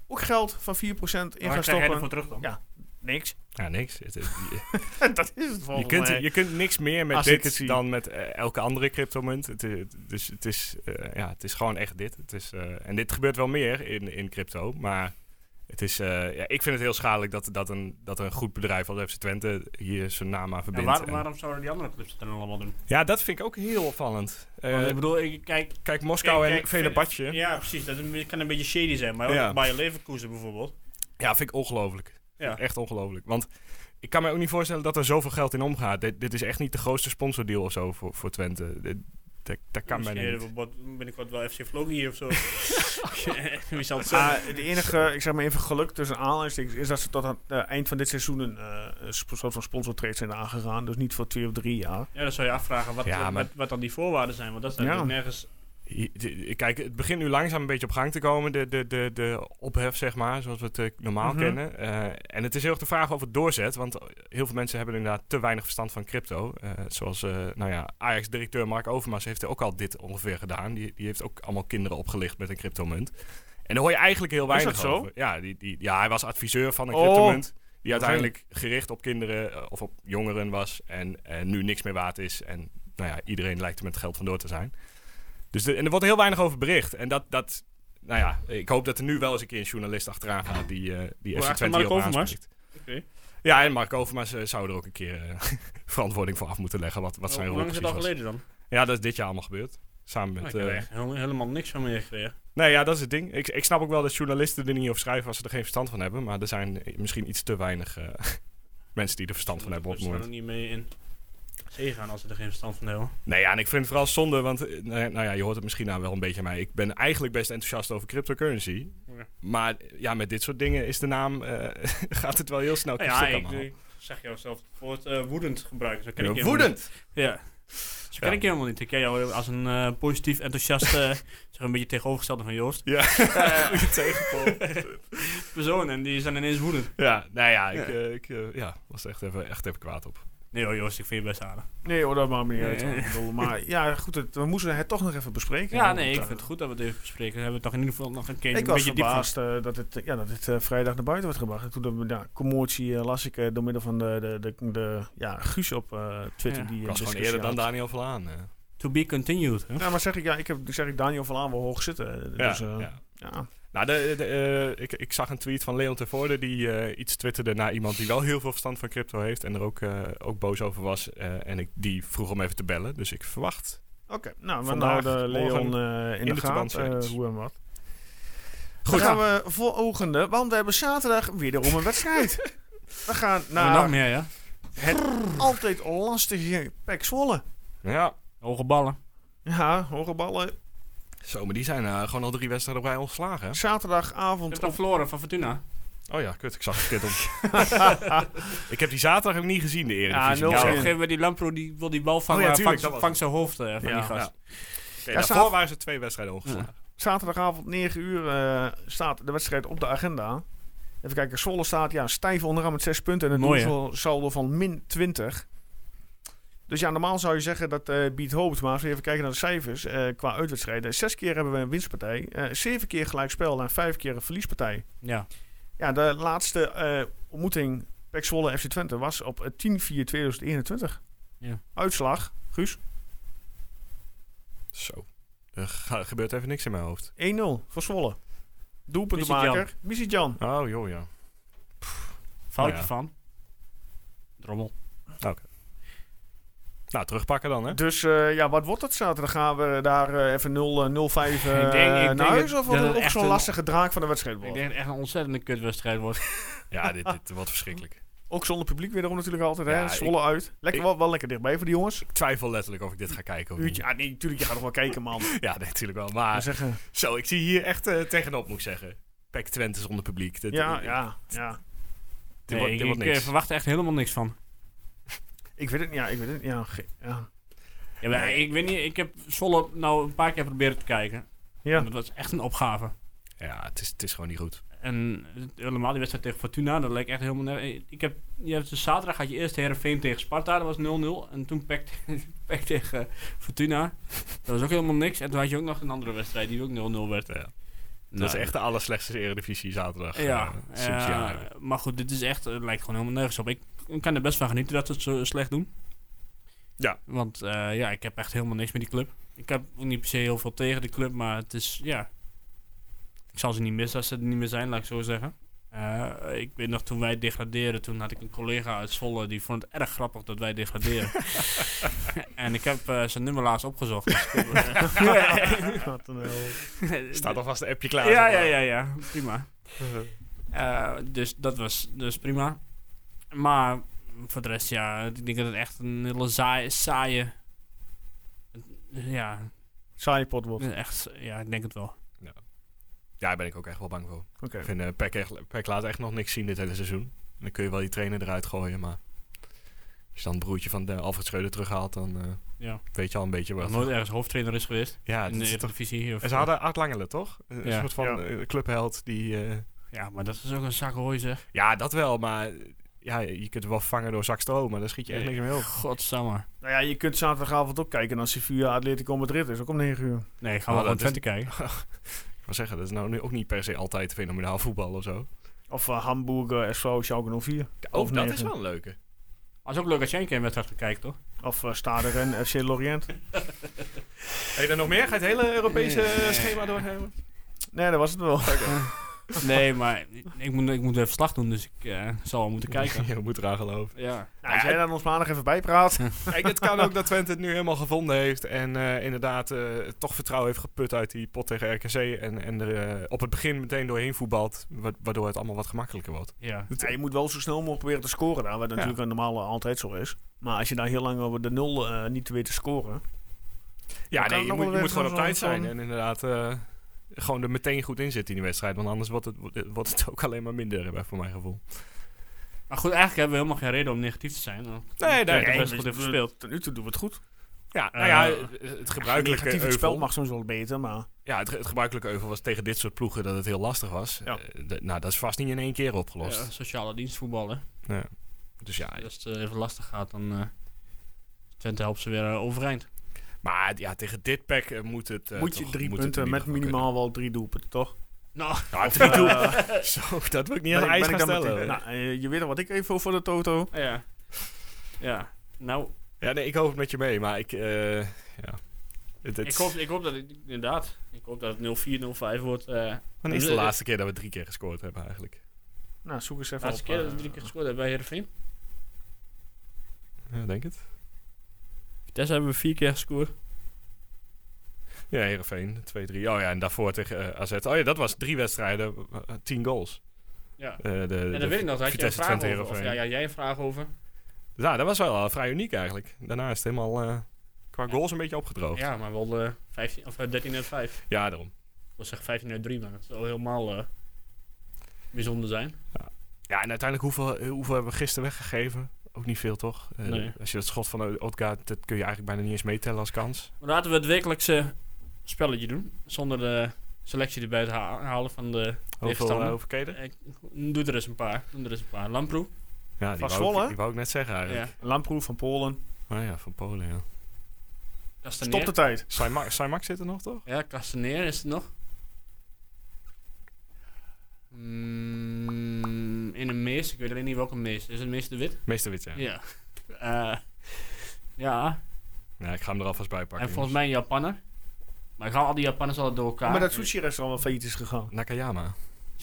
S1: ook geld van 4% in gaan
S5: Waar krijg jij ervoor
S1: stoppen.
S5: terug dan?
S1: Ja. Niks.
S2: Ja, niks. Het- het- je-
S1: (laughs) dat is het
S2: je,
S1: volgens
S2: kunt,
S1: mij.
S2: je kunt niks meer met
S1: Als ik het
S2: dit
S1: zie.
S2: dan met eh, elke andere cryptomunt. Het, het- dus het is, eh, ja, het is gewoon echt dit. Het is, eh, en dit gebeurt wel meer in, in crypto, maar... Het is, eh, ja, ik vind het heel schadelijk dat, dat, een, dat een goed bedrijf als FC Twente hier zijn naam aan
S5: En
S2: verbindt.
S5: waarom,
S2: En-
S5: waarom zouden die andere clubs het dan allemaal doen?
S2: ja, dat vind ik ook heel opvallend. Eh,
S1: Oh,
S5: Want ik bedoel, ik, kijk...
S2: kijk, Moskou
S5: kijk,
S2: en
S5: kijk,
S2: Venebatje. Ja.
S5: Ja, precies. Dat is een- kan een beetje shady zijn. Maar ook
S2: Ja.
S5: Bayer Leverkusen bijvoorbeeld.
S2: vind ik ongelooflijk.
S5: Ja.
S2: Echt ongelooflijk. Want ik kan me ook niet voorstellen dat er zoveel geld in omgaat. Dit, dit is echt niet de grootste sponsordeal of zo voor, voor Twente. Dit- dat, dat kan bijna
S5: Misschien
S2: niet.
S5: wordt- binnenkort wel FC Vlogi hier of
S2: (laughs)
S5: zo. (laughs) Wie zal het
S1: Ah,
S5: zeggen?
S1: de enige, ik zeg maar even geluk tussen aanleidingstekens, is dat ze tot aan het eh, eind van dit seizoen een eh, een sp- soort van sponsortrade zijn aangegaan. Dus niet voor twee of drie jaar.
S5: Ja, dan zou je afvragen wat,
S2: Ja, maar-
S5: wat, wat dan die voorwaarden zijn. Want dat staat
S1: Ja.
S5: natuurlijk nergens...
S2: Je- je- Kijk, het begint nu langzaam een beetje op gang te komen. De, de, de, de ophef, zeg maar, zoals we het eh, normaal
S1: Mhm.
S2: kennen. Eh, en het is heel erg de vraag of het doorzet. Want heel veel mensen hebben inderdaad te weinig verstand van crypto. Eh, zoals, eh, nou ja, Ajax-directeur Mark Overmars heeft ook al dit ongeveer gedaan. Die, die heeft ook allemaal kinderen opgelicht met een cryptomunt. En daar hoor je eigenlijk heel weinig
S1: dat zo?
S2: over. Ja, die, die, ja, hij was adviseur van een
S1: Oh.
S2: cryptomunt. Die uiteindelijk gericht op kinderen eh, of op jongeren was. En, eh, nu niks meer waard is. En nou ja, iedereen lijkt er met geld vandoor te zijn. Dus de- en er wordt heel weinig over bericht. En dat, dat, nou ja, ik hoop dat er nu wel eens een keer een journalist achteraan gaat die, eh, die
S5: Hoe
S2: FC
S5: achter
S2: Twente
S5: Mark
S2: hierop
S5: Overmars?
S2: aanspreekt. Ja, en Mark Overmars eh, zou er ook een keer eh, (laughs) verantwoording voor af moeten leggen. Wat, wat zijn
S5: Oh, Hoe
S2: rol
S5: lang is het al
S2: precies was.
S5: geleden dan?
S2: Ja, dat is dit jaar allemaal gebeurd. Samen
S5: Nou,
S2: met...
S5: ik heb
S2: eh,
S5: er echt heel- helemaal niks van meer gekregen.
S2: nee, ja, dat is het ding. Ik, ik snap ook wel dat journalisten er niet over schrijven als ze er geen verstand van hebben. Maar er zijn eh, misschien iets te weinig eh, (laughs) mensen die er verstand van hebben op
S5: Ik
S2: het
S5: zou
S2: moment.
S5: er niet mee in zee gaan als ze er geen verstand van hebben.
S2: Nee, ja, en ik vind het vooral zonde, want eh, nou ja, nou ja, je hoort het misschien nou wel een beetje aan mij. Ik ben eigenlijk best enthousiast over cryptocurrency.
S5: Ja.
S2: Maar eh, ja, met dit soort dingen is de naam, eh, (laughs) gaat het wel heel snel
S5: Nou
S2: kapstuk
S5: ja, ik,
S2: allemaal.
S5: ik zag jou zelf het woord eh, woedend gebruiken. Zo ken ik je helemaal
S2: Woedend!
S5: niet. Ja. Zo ken
S2: Ja.
S5: ik je helemaal niet. Ik ken jou als een eh, positief, enthousiast,
S2: (laughs)
S5: eh, zeg een beetje tegenovergestelde van Joost.
S2: Ja,
S5: (laughs)
S2: goede tegenpol.
S5: Persoon en die is dan ineens woedend.
S2: (laughs) Ja, nou ja, ik, eh, ik eh, ja, was er echt even, echt even kwaad op.
S5: Nee hoor Joost, ik vind je best aardig.
S1: Nee hoor, dat maakt me niet uit.
S5: Nee.
S1: Ik bedoel, (laughs) Maar ja, goed, het- we moesten het toch nog even bespreken.
S5: Ja,
S1: Want,
S5: nee, ik
S1: eh,
S5: vind het goed dat we het even bespreken. Dan hebben we het toch in ieder geval nog een keer
S1: Ik
S5: een
S1: was
S5: beetje diep van.
S1: verbaasd eh, dat het, ja, dat het eh, vrijdag naar buiten werd gebracht. En toen de ja, commotie eh, las ik eh, door middel van de, de, de, de- ja, Guus op eh, Twitter.
S5: Ja.
S1: die
S2: Ik
S1: eh,
S2: was gewoon
S1: discussie
S2: eerder dan
S1: had.
S2: Daniel Vlaan. eh.
S5: To be continued. Hè?
S1: Ja, maar zeg ik, ja, ik heb zeg ik Daniel van Aan wel hoog zitten.
S2: Ja,
S1: Dus, eh, ja.
S2: ja. Nou, de, de, eh, ik, ik zag een tweet van Leon Tervoorde die eh, iets twitterde naar iemand die wel heel veel verstand van crypto heeft en er ook, eh, ook boos over was. eh, en ik, die vroeg om even te bellen, dus ik verwacht
S1: Oké, nou, we
S2: Vandaag,
S1: houden Leon eh, in, de,
S2: in de
S1: gaten,
S2: verbandseries.
S1: eh, hoe en wat.
S2: Goed.
S1: Goed, gaan we voor volgende, want we hebben zaterdag wederom een wedstrijd. we
S5: (laughs)
S1: gaan
S5: Nou, nog
S1: naar
S5: meer, ja.
S1: het altijd lastige Pek Zwolle.
S2: Ja,
S5: Hoge ballen.
S1: Ja, hoge ballen.
S2: zo, maar die zijn eh, gewoon al drie wedstrijden op rij ontslagen. hè?
S5: Ik
S1: Zaterdagavond
S5: heb verloren van Fortuna.
S2: Oh ja, kut, ik zag het kut om. (laughs) ik heb die zaterdag ook niet gezien, de Eredivisie.
S1: Ja,
S5: Ja,
S1: nul.
S5: op
S2: Oké,
S5: een gegeven moment die Lampro die wil die bal vangen.
S2: ja,
S5: maar
S2: tuurlijk, dat was
S5: vangt- vangt zijn hoofd eh, van
S1: Ja,
S5: die gast.
S2: daarvoor
S1: zaterdag-
S2: waren ze twee wedstrijden ongeslagen.
S1: (laughs) zaterdagavond 9 uur eh, staat de wedstrijd op de agenda. Even kijken, Zwolle staat ja, stijf onderaan met 6 punten en
S5: Mooi,
S1: een
S5: hè?
S1: doelsaldo van min 20. Dus ja, normaal zou je zeggen dat eh biedt hoop. Maar als we even kijken naar de cijfers eh, qua uitwedstrijden. Zes keer hebben we een winstpartij, eh, zeven keer gelijkspel en vijf keer een verliespartij.
S5: Ja.
S1: Ja, de laatste eh, ontmoeting PEC Zwolle FC Twente was op eh, 10-4-2021.
S5: Ja.
S1: Uitslag, Guus, 1-0
S2: Zo. Er ga- gebeurt even niks in mijn hoofd.
S1: voor Zwolle. Doelpuntenmaker. Missie Jan.
S2: Oh, joh, ja.
S5: Foutje
S2: Nou ja.
S5: van. Drommel.
S2: Nou, terugpakken dan, hè?
S1: Dus eh, ja, wat wordt het zaterdag? Gaan we daar eh, even 0, eh, 0-5 eh,
S5: (laughs) Ik denk- ik denk
S1: naar huis?
S5: dat-
S1: Of wordt
S5: dat
S1: het
S5: het
S1: ook
S5: echt
S1: zo'n
S5: een-
S1: lastige draak van de wedstrijd
S5: Ik
S1: wordt?
S5: denk dat het echt een ontzettende kutwedstrijd wordt.
S2: Ja, dit, dit wordt verschrikkelijk.
S1: Ook zonder publiek wederom natuurlijk altijd.
S2: Ja,
S1: hè?
S2: ik-
S1: Zwolle uit. Lekker,
S2: ik-
S1: wel, wel lekker dichtbij voor die jongens.
S2: Ik twijfel letterlijk of ik dit ga kijken of niet.
S1: Uurtje. Ja, nee, natuurlijk. Je gaat nog wel kijken, man.
S2: Ja, nee, natuurlijk wel.
S1: Maar
S2: Maar
S1: zeggen,
S2: zo, ik zie hier echt eh, tegenop, moet ik zeggen. Pek Twente zonder publiek. Dit,
S1: ja,
S2: eh,
S1: ja, ja.
S2: Dit wordt,
S5: Nee,
S2: dit
S5: ik,
S2: wordt
S5: ik, eh,
S2: niks.
S5: verwacht er echt helemaal niks van.
S1: Ik weet het niet. Ja, ik weet het niet. Ja, ge- ja.
S5: Ja, maar Ik weet niet, ik heb Zwolle nou een paar keer proberen te kijken.
S1: ja.
S5: En Dat was echt een opgave.
S2: Ja, het is, het is gewoon niet goed.
S5: En het- helemaal die wedstrijd tegen Fortuna, dat leek echt helemaal nergens. Ik heb, je hebt dus zaterdag had je eerst Herenveen tegen Sparta, dat was 0-0. En toen (laughs) Peck, Peck tegen Fortuna, dat was ook helemaal niks. En toen had je ook nog een andere wedstrijd die ook 0-0 werd.
S2: Ja.
S5: Nou,
S2: Dat is echt de allerslechtste Eredivisie zaterdag
S5: Ja,
S2: eh, sinds
S5: eh,
S2: jaren.
S5: maar goed, dit is echt, het lijkt gewoon helemaal nergens op. Ik, ik kan er best van genieten dat ze het zo slecht doen.
S2: Ja.
S5: Want eh, ja, ik heb echt helemaal niks met die club. Ik heb ook niet per se heel veel tegen de club, maar het is, ja... Ik zal ze niet missen als ze er niet meer zijn, laat ik zo zeggen. Eh, ik weet nog, toen wij degradeerden, toen had ik een collega uit Zwolle... die vond het erg grappig dat wij degraderen.
S2: (laughs)
S5: en ik heb eh, zijn nummer laatst opgezocht. (laughs) Dus ik heb-
S1: (laughs) Wat een hel.
S2: Staat alvast een appje klaar. zeg
S5: ja, ja,
S2: maar.
S5: ja, ja. Prima.
S1: Mhm.
S5: Eh, dus dat was dus prima. Maar voor de rest, ja, ik denk dat het echt een hele saaie... saaie ja,
S1: Saaie pot wordt.
S5: echt, ja, ik denk het wel.
S2: Ja, daar ben ik ook echt wel bang voor.
S1: Oké.
S2: Ik vind eh, Peck, echt, Peck laat echt nog niks zien dit hele seizoen. Dan kun je wel die trainer eruit gooien, maar... Als je dan het broertje van eh, Alfred Schreuder terughaalt, dan eh,
S5: Ja.
S2: weet je al een beetje
S5: Nog
S2: wat.
S5: nooit ergens hoofdtrainer is geweest
S2: Ja,
S5: in
S2: dat
S5: de
S2: is toch-
S5: Eredivisie. Of,
S2: En ze hadden Art Langelen, toch? Een
S5: Ja.
S2: soort van
S1: Ja.
S2: eh, clubheld die... eh,
S5: Ja, maar dat is ook een zak hooi, zeg.
S2: ja, dat wel, maar... Ja, je kunt hem wel vangen door zakstro, maar daar schiet je echt niks meer op.
S5: Godsamme.
S1: Nou ja, je kunt zaterdagavond ook kijken naar Sevilla Atletico Madrid. is ook om 9 uur.
S5: Nee, gaan
S2: Oh,
S5: we
S2: dat
S5: gewoon
S2: is-
S5: Twente kijken.
S2: Ik wil zeggen, dat is nou nu ook niet per se altijd fenomenaal voetbal of zo.
S1: Of eh, Hamburg, eh, SV, Schalke 04. Of
S2: Oh, dat
S1: negen.
S2: is wel een leuke.
S5: Het is ook leuk als jij een keer een wedstrijd gaat kijken,
S2: (laughs)
S5: toch?
S1: Of eh, Stade Ren, FC Lorient.
S2: Heb je er nog meer? Ga je het hele Europese eh, schema doornemen?
S1: Nee, dat was het wel.
S5: nee, maar ik moet, ik moet even slag doen, dus ik eh, zal wel moeten kijken.
S2: (laughs) Je moet eraan geloven.
S5: ja.
S1: Nou, als jij dan ons maandag even bijpraat.
S2: Kijk, het kan ook dat Twente het nu helemaal gevonden heeft. En eh, inderdaad eh, toch vertrouwen heeft geput uit die pot tegen RKC. En, en er eh, op het begin meteen doorheen voetbalt. wa- Waardoor het allemaal wat gemakkelijker wordt.
S5: ja.
S1: Ja, je moet wel zo snel mogelijk proberen te scoren daar, wat natuurlijk een normale altijd zo is. Maar als je daar heel lang over de nul eh, niet weet te scoren. Dan
S2: Ja,
S1: kan
S2: nee,
S1: het nog
S2: je moet,
S1: wel
S2: je
S1: weer
S2: moet gewoon op
S1: zo'n-
S2: tijd zijn.
S1: zo'n-
S2: En inderdaad eh, gewoon er meteen goed in zitten in die wedstrijd. Want anders wordt het, wordt het ook alleen maar minder, eh, voor mijn gevoel.
S5: Maar goed, eigenlijk hebben we helemaal geen reden om negatief te zijn. want
S2: Nee,
S5: Twente
S2: nee,
S5: heeft
S2: nee.
S5: best goed heeft gespeeld.
S1: Tot nu toe doen we het goed.
S2: Ja, nou ja,
S5: Eh,
S2: het- het
S1: Gebruikelijk
S2: gebruikelijke
S1: negatief het spel
S2: euvel.
S1: mag soms wel beter, maar
S2: Ja, het, het gebruikelijke euvel was tegen dit soort ploegen dat het heel lastig was.
S1: Ja.
S2: Eh, de- nou, dat is vast niet in één keer opgelost.
S5: Ja, eh, sociale dienstvoetballen.
S2: Dus ja,
S5: Als het eh, even lastig gaat, dan eh Twente helpt ze weer eh, overeind.
S2: maar ja, tegen dit pack eh, moet het... eh,
S1: moet je
S2: toch-
S1: drie
S2: moet het in
S1: punten
S2: ieder
S1: met
S2: geval
S1: minimaal wel drie doelpunten, toch?
S5: Nou,
S2: kunnen. Nou, drie doel-
S1: Eh,
S2: (laughs) Zo, dat wil ik niet
S1: ben
S2: aan
S1: ik-
S2: ijs
S1: ben
S2: gaan
S1: ik dan meteen-
S2: stellen.
S1: Nou, eh, je weet nog wat ik even voor voor de Toto.
S5: ja. Ja. Nou,
S2: Ja, nee, ik hoop het met je mee, maar ik... eh, ja. Het, het-
S5: ik hoop, ik hoop dat het inderdaad. Ik hoop dat het 04-05 wordt. eh
S2: Wanneer is de
S5: eh,
S2: laatste keer dat we drie keer gescoord hebben eigenlijk?
S1: Nou, zoek eens
S5: de
S1: even
S5: laatste
S1: op.
S5: keer dat
S1: eh,
S5: we drie keer gescoord hebben bij Heerenveen.
S2: Ja, denk het.
S5: Vitesse hebben we vier keer gescoord.
S2: Ja, Heerenveen, 2-3. Oh ja, en daarvoor tegen eh, AZ. Oh ja, dat was drie wedstrijden, eh, tien goals.
S5: Ja.
S2: Eh, de,
S5: En dan weet ik nog, daar had je een vraag over. Of ja, ja, jij een vraag over.
S2: Ja, dat was wel eh, vrij uniek eigenlijk. Daarna is het helemaal eh, qua goals een beetje opgedroogd. Ja,
S5: Ja, maar wel eh, 15, of, eh, 13 uit 5.
S2: daarom.
S5: Ik wil zeggen 15 uit 3, maar dat zou helemaal eh, bijzonder zijn.
S2: Ja, en uiteindelijk hoeveel, eh, hoeveel hebben we gisteren weggegeven? Ook niet veel, toch? Eh,
S5: Nee.
S2: Als je dat schot van Odgaard, dat kun je eigenlijk bijna niet eens meetellen als kans.
S5: Maar Laten we het wekelijkse spelletje doen. Zonder de selectie erbij te ha- halen van de...
S2: Hoeveel
S5: Tegenstander.
S2: eh, overkheden?
S5: Ik, doe er eens een paar. Doe er eens een paar. Lamproe.
S2: Ja, die
S1: Van
S2: wou,
S1: Zwolle?
S2: ik, die wou ik net zeggen
S5: Ja.
S2: eigenlijk.
S1: Lamproef van Polen.
S2: Ja. ja, van Polen, ja.
S1: Stop
S5: Kastaneer.
S1: de tijd.
S2: (laughs) Saimak, Saimak zit er nog, toch?
S5: Ja, Kastaneer is het nog. Mm, in een mees. Ik weet alleen niet welke mees. Is het mees de wit?
S2: Meesterwit, ja. ja.
S5: Ja. Eh, ja.
S2: ik ga hem er alvast bij pakken.
S5: En volgens mij een Japanner. Maar ik haal al die Japanners al door elkaar.
S1: Oh,
S5: Eh,
S1: maar dat sushi-restaurant wel failliet is gegaan.
S2: Nakayama.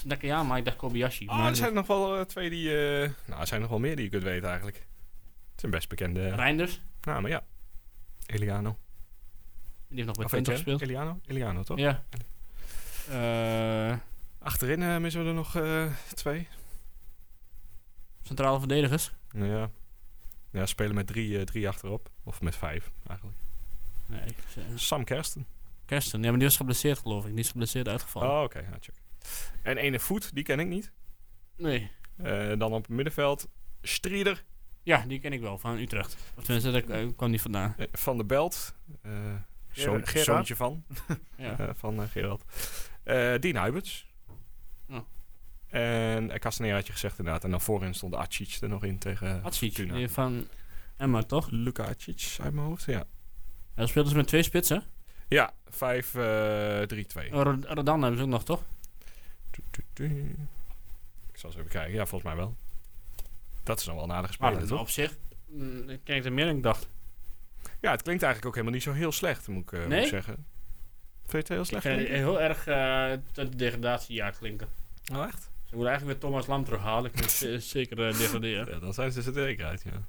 S5: Nakayama, ik dacht Kobayashi.
S1: Oh,
S2: Ah,
S5: maar
S2: er zijn nog wel eh, twee die... eh, nou, er zijn nog wel meer die je kunt weten eigenlijk. Het zijn best bekende
S5: Reinders,
S2: namen, ja. Eliano.
S5: die heeft nog bij
S2: Of
S5: Twente
S2: heet hij
S5: gespeeld.
S2: Eliano? Eliano, toch?
S5: Ja. Eh,
S2: Achterin eh, missen we er nog eh, twee.
S5: centrale verdedigers.
S2: Nou ja. Ja, spelen met drie, eh, drie achterop. Of met vijf, eigenlijk.
S5: Nee, ik- eh,
S2: Sam Kersten.
S5: Kersten, ja, maar die was geblesseerd geloof ik. Die is geblesseerd uitgevallen.
S2: Oh, oké. ja, check. En ene voet, die ken ik niet.
S5: Nee.
S2: Eh, dan op het middenveld Strieder
S5: Ja, die ken ik wel, van Utrecht. Of tenminste, daar eh, kwam die vandaan.
S2: eh, van de Belt. eh zoon,
S1: Gerard.
S2: zoontje van,
S5: Ja.
S2: eh, van eh, Gerard. Eh Dean Huiberts.
S5: Oh.
S2: En eh, Castaneda had je gezegd inderdaad. En dan voorin stond Acic er nog in tegen
S5: Hatsic,
S2: Fortuna.
S5: die van Emma, toch?
S2: Luca Acic uit mijn hoofd, ja.
S5: Hij speelde ze met twee spitsen. Oh,
S2: Ja, 5, eh 3,
S1: Oh,
S2: 2.
S5: Rod- Rodan hebben ze ook nog, toch?
S2: Ik zal eens even kijken. Ja, volgens mij wel. Dat is dan wel een aardige
S5: Maar
S2: speler, toch?
S5: op zich mm, ik ken ik er meer dan ik dacht.
S2: Ja, het klinkt eigenlijk ook helemaal niet zo heel slecht, moet ik, eh, moet
S5: Nee?
S2: ik zeggen. Vind je het heel
S5: Ik eh,
S2: slecht?
S5: vind het
S2: klinken?
S5: heel erg eh, dat degradatiejaar klinken.
S2: Oh, echt?
S5: Ze moeten eigenlijk weer Thomas Lam terughalen.
S2: (laughs)
S5: Ik vind het eh, zeker eh, degraderen.
S2: Ja, dan zijn ze er zeker uit, ja.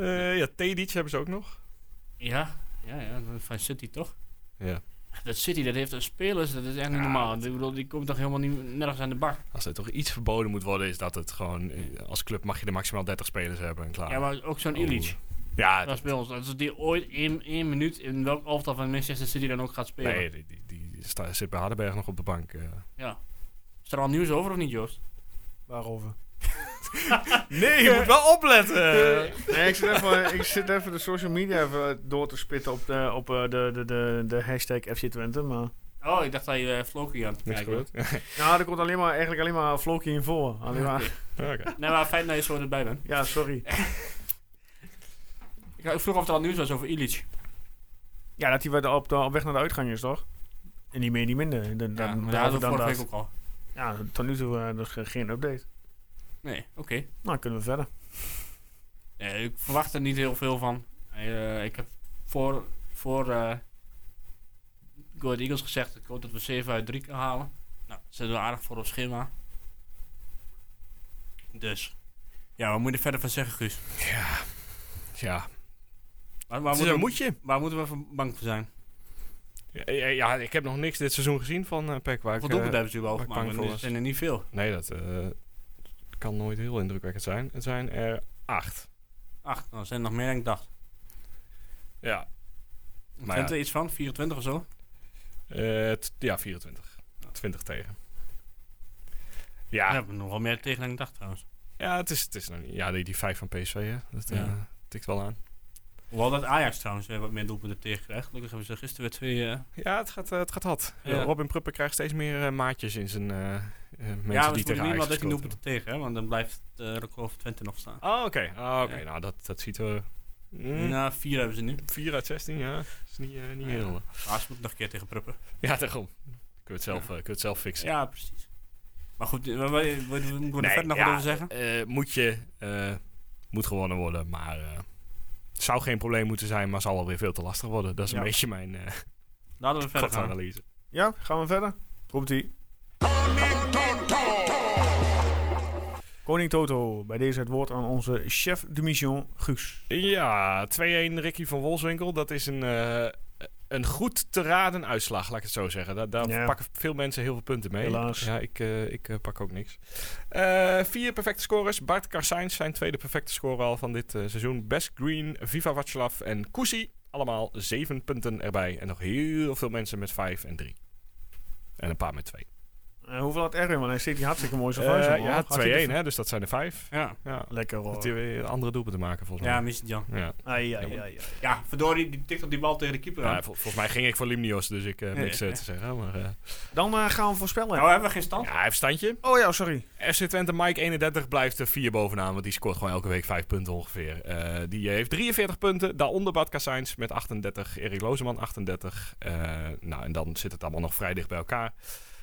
S2: Eh ja, Tedic hebben ze ook nog.
S5: Ja, ja, ja, van City toch?
S2: Ja.
S5: Dat City, dat heeft een spelers, dat is echt niet
S2: Ja,
S5: normaal.
S2: dat-
S5: Ik bedoel, die komt toch helemaal niet, nergens aan de bak.
S2: Als er toch iets verboden moet worden, is dat het gewoon... eh, Als club mag je er maximaal 30 spelers hebben en klaar.
S5: Ja, maar ook zo'n
S2: Oh.
S5: Illich.
S2: Ja,
S5: Dat is bij ons. Als die ooit in één minuut in welk elftal van Manchester City dan ook gaat spelen.
S2: nee, die, die, die sta- zit bij Hardenberg nog op de bank. eh.
S5: Is er al nieuws over of niet, Joost?
S1: (laughs) Waarover?
S2: Nee, je moet wel opletten!
S1: Nee, ik zit, even, ik zit even de social media even door te spitten op de, op eh, de, de, de, de hashtag FC Twente. Maar...
S5: Oh, ik dacht dat je eh Floki aan het
S2: Niks
S5: kijken was.
S2: gebeurd? Ja,
S1: Nou, er komt alleen maar, eigenlijk alleen maar Floki in voor. Alleen maar,
S2: (laughs) oké.
S5: Nee, maar fijn dat je zo erbij bent.
S1: ja, sorry.
S5: Ik, ik vroeg of er al nieuws was over Illich.
S1: Ja, dat hij weer op, de- op weg naar de uitgang is, toch? En niet meer, niet minder. Dan,
S5: Ja,
S1: dan,
S5: maar daar hadden we
S1: dan
S5: vorige
S1: dat.
S5: week ook al.
S1: Ja, tot nu toe eh, dus ge- geen update.
S5: Nee, oké.
S1: Nou, kunnen we verder.
S5: Nee, ik verwacht er niet heel veel van. Eh, ik heb voor, voor eh Go Ahead Eagles gezegd, ik hoop dat we 7 uit 3 kunnen halen. Nou, dat zitten we aardig voor op schema. Dus. Ja, wat moet je er verder van zeggen, Guus?
S2: Ja,
S5: Waar,
S2: het
S5: waar,
S2: is een
S5: moeten, we,
S2: moedje.
S5: waar moeten we van bang voor zijn?
S2: Ja, ja, ja, ik heb nog niks dit seizoen gezien van eh Peck. Waar ik,
S5: Wat doelpunten
S2: eh,
S5: hebben ze überhaupt
S2: waar ik bang
S5: gemaakt? Want
S2: voor
S5: Er
S2: was.
S5: zijn er niet veel.
S2: Nee, dat eh, kan nooit heel indrukwekkend zijn. Het zijn er acht.
S5: Acht, nou, er zijn er nog meer dan ik dacht.
S2: Ja, Maar
S5: Vindt er iets van? 24 of zo?
S2: Eh, t- ja, 24. 20 tegen. Ja,
S5: We
S2: ja.
S5: hebben nog wel meer tegen dan ik dacht trouwens.
S2: het, is, het is nog niet. Ja, die, die 5 van PSV, hè? Dat eh,
S5: Ja.
S2: tikt wel aan.
S5: Hoewel dat Ajax trouwens weer wat meer doelpunten tegen krijgt. Gelukkig hebben ze gisteren weer twee... eh,
S2: Ja, het gaat, eh, het gaat hard.
S5: Ja.
S2: Robin Pruppen krijgt steeds meer eh, maatjes in zijn eh, eh, mensen
S5: ja, maar
S2: die
S5: ze moeten
S2: tegen
S5: niet
S2: Ajax
S5: wel 13
S2: gescoord
S5: doelpunten tegen, hè? want dan blijft de record van Twente nog staan.
S2: hebben. Oh, oké. Ah, oké.
S5: Ja.
S2: Nou, dat, dat ziet er... Mm,
S5: Na vier hebben ze nu.
S2: 4 uit 16, ja. Dat is niet, eh, niet
S5: Ja.
S2: heel...
S5: Maar ze moeten nog een keer tegen Pruppen.
S2: Ja, daarom. Kun je het zelf, eh, kun je het zelf fixen.
S5: Ja, precies. Maar goed, eh, wat- wat- wat- wat- moeten we er verder nog
S2: ja,
S5: wat over zeggen?
S2: eh, moet je... eh, moet gewonnen worden, maar... eh, het zou geen probleem moeten zijn, maar zal alweer veel te lastig worden. Dat is
S5: Ja.
S2: een beetje mijn... eh,
S5: Laten we verder gaan.
S2: analyse.
S1: Ja, gaan we verder? Komt ie. Koning Toto, bij deze het woord aan onze chef de mission, Guus.
S2: Ja, 2-1 Ricky van Wolfswinkel. Dat is een, eh, een goed te raden uitslag, laat ik het zo zeggen. Daar, daar
S1: Ja.
S2: pakken veel mensen heel veel punten mee.
S1: Helaas.
S2: Ja, ik, eh, ik eh, pak ook niks. Eh, vier perfecte scorers. Bart Karsijns, zijn tweede perfecte scorer al van dit eh, seizoen. Best Green, Viva Václav en Kusi. Allemaal zeven punten erbij. En nog heel veel mensen met vijf en drie. En een paar met twee.
S1: Eh, hoeveel had Erwin? Want hij steekt die hartstikke mooi zo
S2: Eh,
S1: van.
S2: ja, 2-1, hè, dus dat zijn er vijf.
S5: Ja,
S2: Ja.
S1: Lekker
S2: Dat
S1: hoor.
S2: hij weer andere doelpunten maken, volgens
S5: ja
S2: mij.
S5: mis Jan.
S2: Ja.
S1: Ai, ai, ai, ai.
S5: Ja, verdorie, die tikt op die bal tegen de keeper
S2: Nou,
S5: aan.
S2: vol- volgens mij ging ik voor Limnios, dus ik heb
S5: Nee,
S2: niks eh,
S5: nee.
S2: te zeggen. Maar, eh,
S1: Dan eh, gaan we voorspellen.
S5: Nou, hebben we geen stand.
S2: ja, hij heeft standje.
S1: Oh ja, sorry.
S2: FC Twente Mike 31 blijft er vier bovenaan, want die scoort gewoon elke week vijf punten ongeveer. Eh, die heeft 43 punten, daaronder Bad Kassijns met 38, Erik Lozeman 38. Eh, nou, en dan zit het allemaal nog vrij dicht bij elkaar.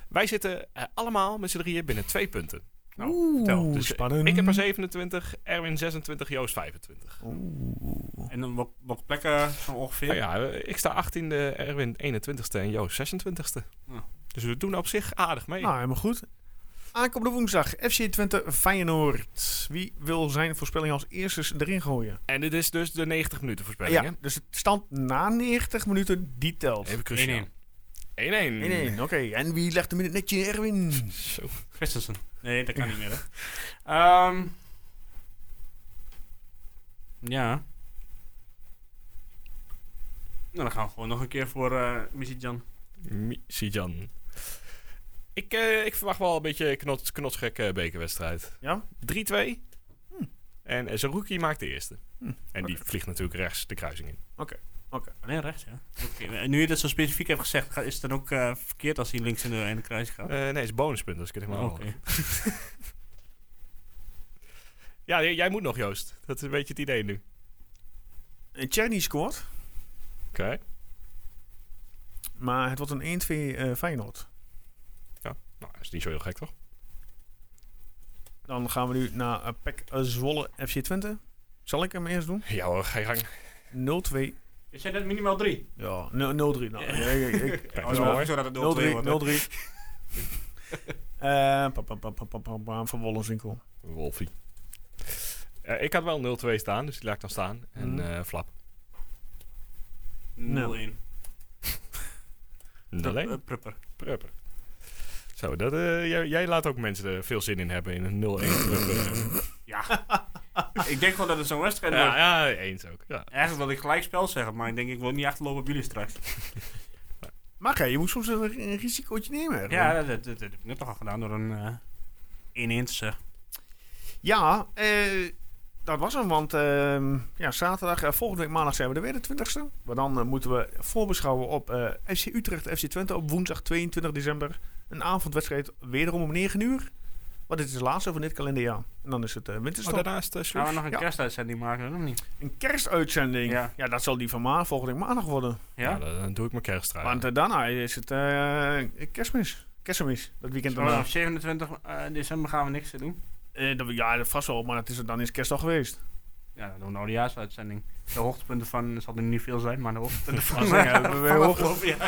S2: Wij zitten eh, allemaal met z'n drieën binnen twee punten. Nou, vertel.
S1: Oeh,
S2: Dus, eh,
S1: spannend.
S2: Ik heb er 27, Erwin 26, Joost 25.
S1: Oeh.
S5: En En dan welke, welke plekken zo ongeveer?
S1: Oh
S2: Nou ja, eh, ik sta 18e, Erwin 21ste en Joost 26ste.
S5: Ja.
S2: Dus we doen op zich aardig mee.
S1: Nou, helemaal goed. Aankomende woensdag, FC Twente Feyenoord. Wie wil zijn voorspelling als eerste erin gooien?
S2: En dit is dus de 90 minuten voorspelling,
S1: Ja, dus het stand na 90 minuten, die telt.
S2: hè? Even cruciaal. 1-1.
S5: 1-1.
S1: 1-1, oké. En wie legt hem in het netje, Erwin?
S2: Zo.
S5: Christensen. Nee, dat kan niet meer. Hè.
S6: Ehm, ja.
S5: Nou, dan gaan we gewoon nog een keer voor eh Missy Jan.
S2: Mi- Sijan. Ik, eh, ik verwacht wel een beetje een knot, knotsgekke bekerwedstrijd.
S1: Ja?
S2: 3-2. En eh, Zerouki maakt de eerste.
S1: Hm,
S2: En die vliegt natuurlijk rechts de kruising in.
S5: Alleen rechts, ja. Oké, en nu je dat zo specifiek hebt gezegd, ga- is het dan ook eh, verkeerd als hij links in de, in de kruis gaat?
S2: Eh, nee, het is bonuspunt, dus ik het helemaal
S5: Oké.
S2: Ja, j- jij moet nog, Joost. Dat is een beetje het idee nu.
S1: Eh, Tjerni scoort,
S2: Oké.
S1: maar het wordt een 1-2 eh, Feyenoord.
S2: Nou, dat is niet zo heel gek, toch?
S1: Dan gaan we nu naar eh, PEC eh, Zwolle FC Twente. Zal ik hem eerst doen?
S2: Ja hoor, ga je gang.
S1: 0-2.
S5: Je zei net minimaal drie.
S1: Ja, 0-3. Nou, ik- ik- (laughs)
S5: (laughs)
S1: ik-
S2: dat is wel mooi.
S5: Zodat het 0-2
S1: 0-3.
S5: wordt, hè.
S1: 0-3. Eh, pam, pam, pam, pam, pam, pam, pam, Van Wollenswinkel.
S2: Wolfie. Eh, ik had wel 0-2 staan, dus die laat ik dan staan. En
S1: Mhm.
S2: eh, flap.
S5: 0-1.
S2: Alleen.
S5: Eh, Prupper.
S2: Prepper. Zo, dat, eh, jij, jij laat ook mensen er veel zin in hebben in een 0-1 prepper.
S5: ik denk gewoon dat het zo'n wedstrijd wordt.
S2: eh. ja, ja, eens ook. Ja.
S5: Eigenlijk wil ik gelijk spel zeggen, maar ik denk ik wil niet achterlopen op jullie straks.
S1: Maar hè, je moet soms een, een risicootje nemen. Erwin.
S5: Ja, dat, dat, dat heb ik net al gedaan door een eh 1 te zeggen.
S1: Ja, eh, dat was hem. Want ehm, ja, zaterdag, eh, volgende week maandag zijn we er weer de 20ste. Maar dan eh, moeten we voorbeschouwen op eh, FC Utrecht, FC Twente op woensdag 22 december. Een avondwedstrijd wederom om 9 uur. Want dit is de laatste van dit kalenderjaar. En dan is het eh
S2: Oh,
S1: winterstop.
S2: daarnaast eh, Sloes?
S5: Gaan we nog een
S1: Ja.
S5: kerstuitzending maken, of niet?
S1: Een kerstuitzending. Ja.
S5: Ja.
S1: dat zal die van ma volgende week maandag worden.
S5: Ja?
S2: Ja, dan, dan doe ik mijn kerstrui.
S1: Want eh, daarna is het eh, kerstmis. Kerstmis, dat weekend
S2: Oh,
S5: Zullen we
S1: daarna.
S5: op 27 eh, december gaan we niks te doen.
S1: Eh, dat, ja, dat vast wel, maar dat is, dan is kerst al geweest.
S5: Ja, dan doen we een oudejaarsuitzending. De hoogtepunten van, er zal er niet veel zijn, maar de (laughs) hoogtepunten van, eh,
S1: Zingen hebben eh, we weer
S5: van afgelopen jaar.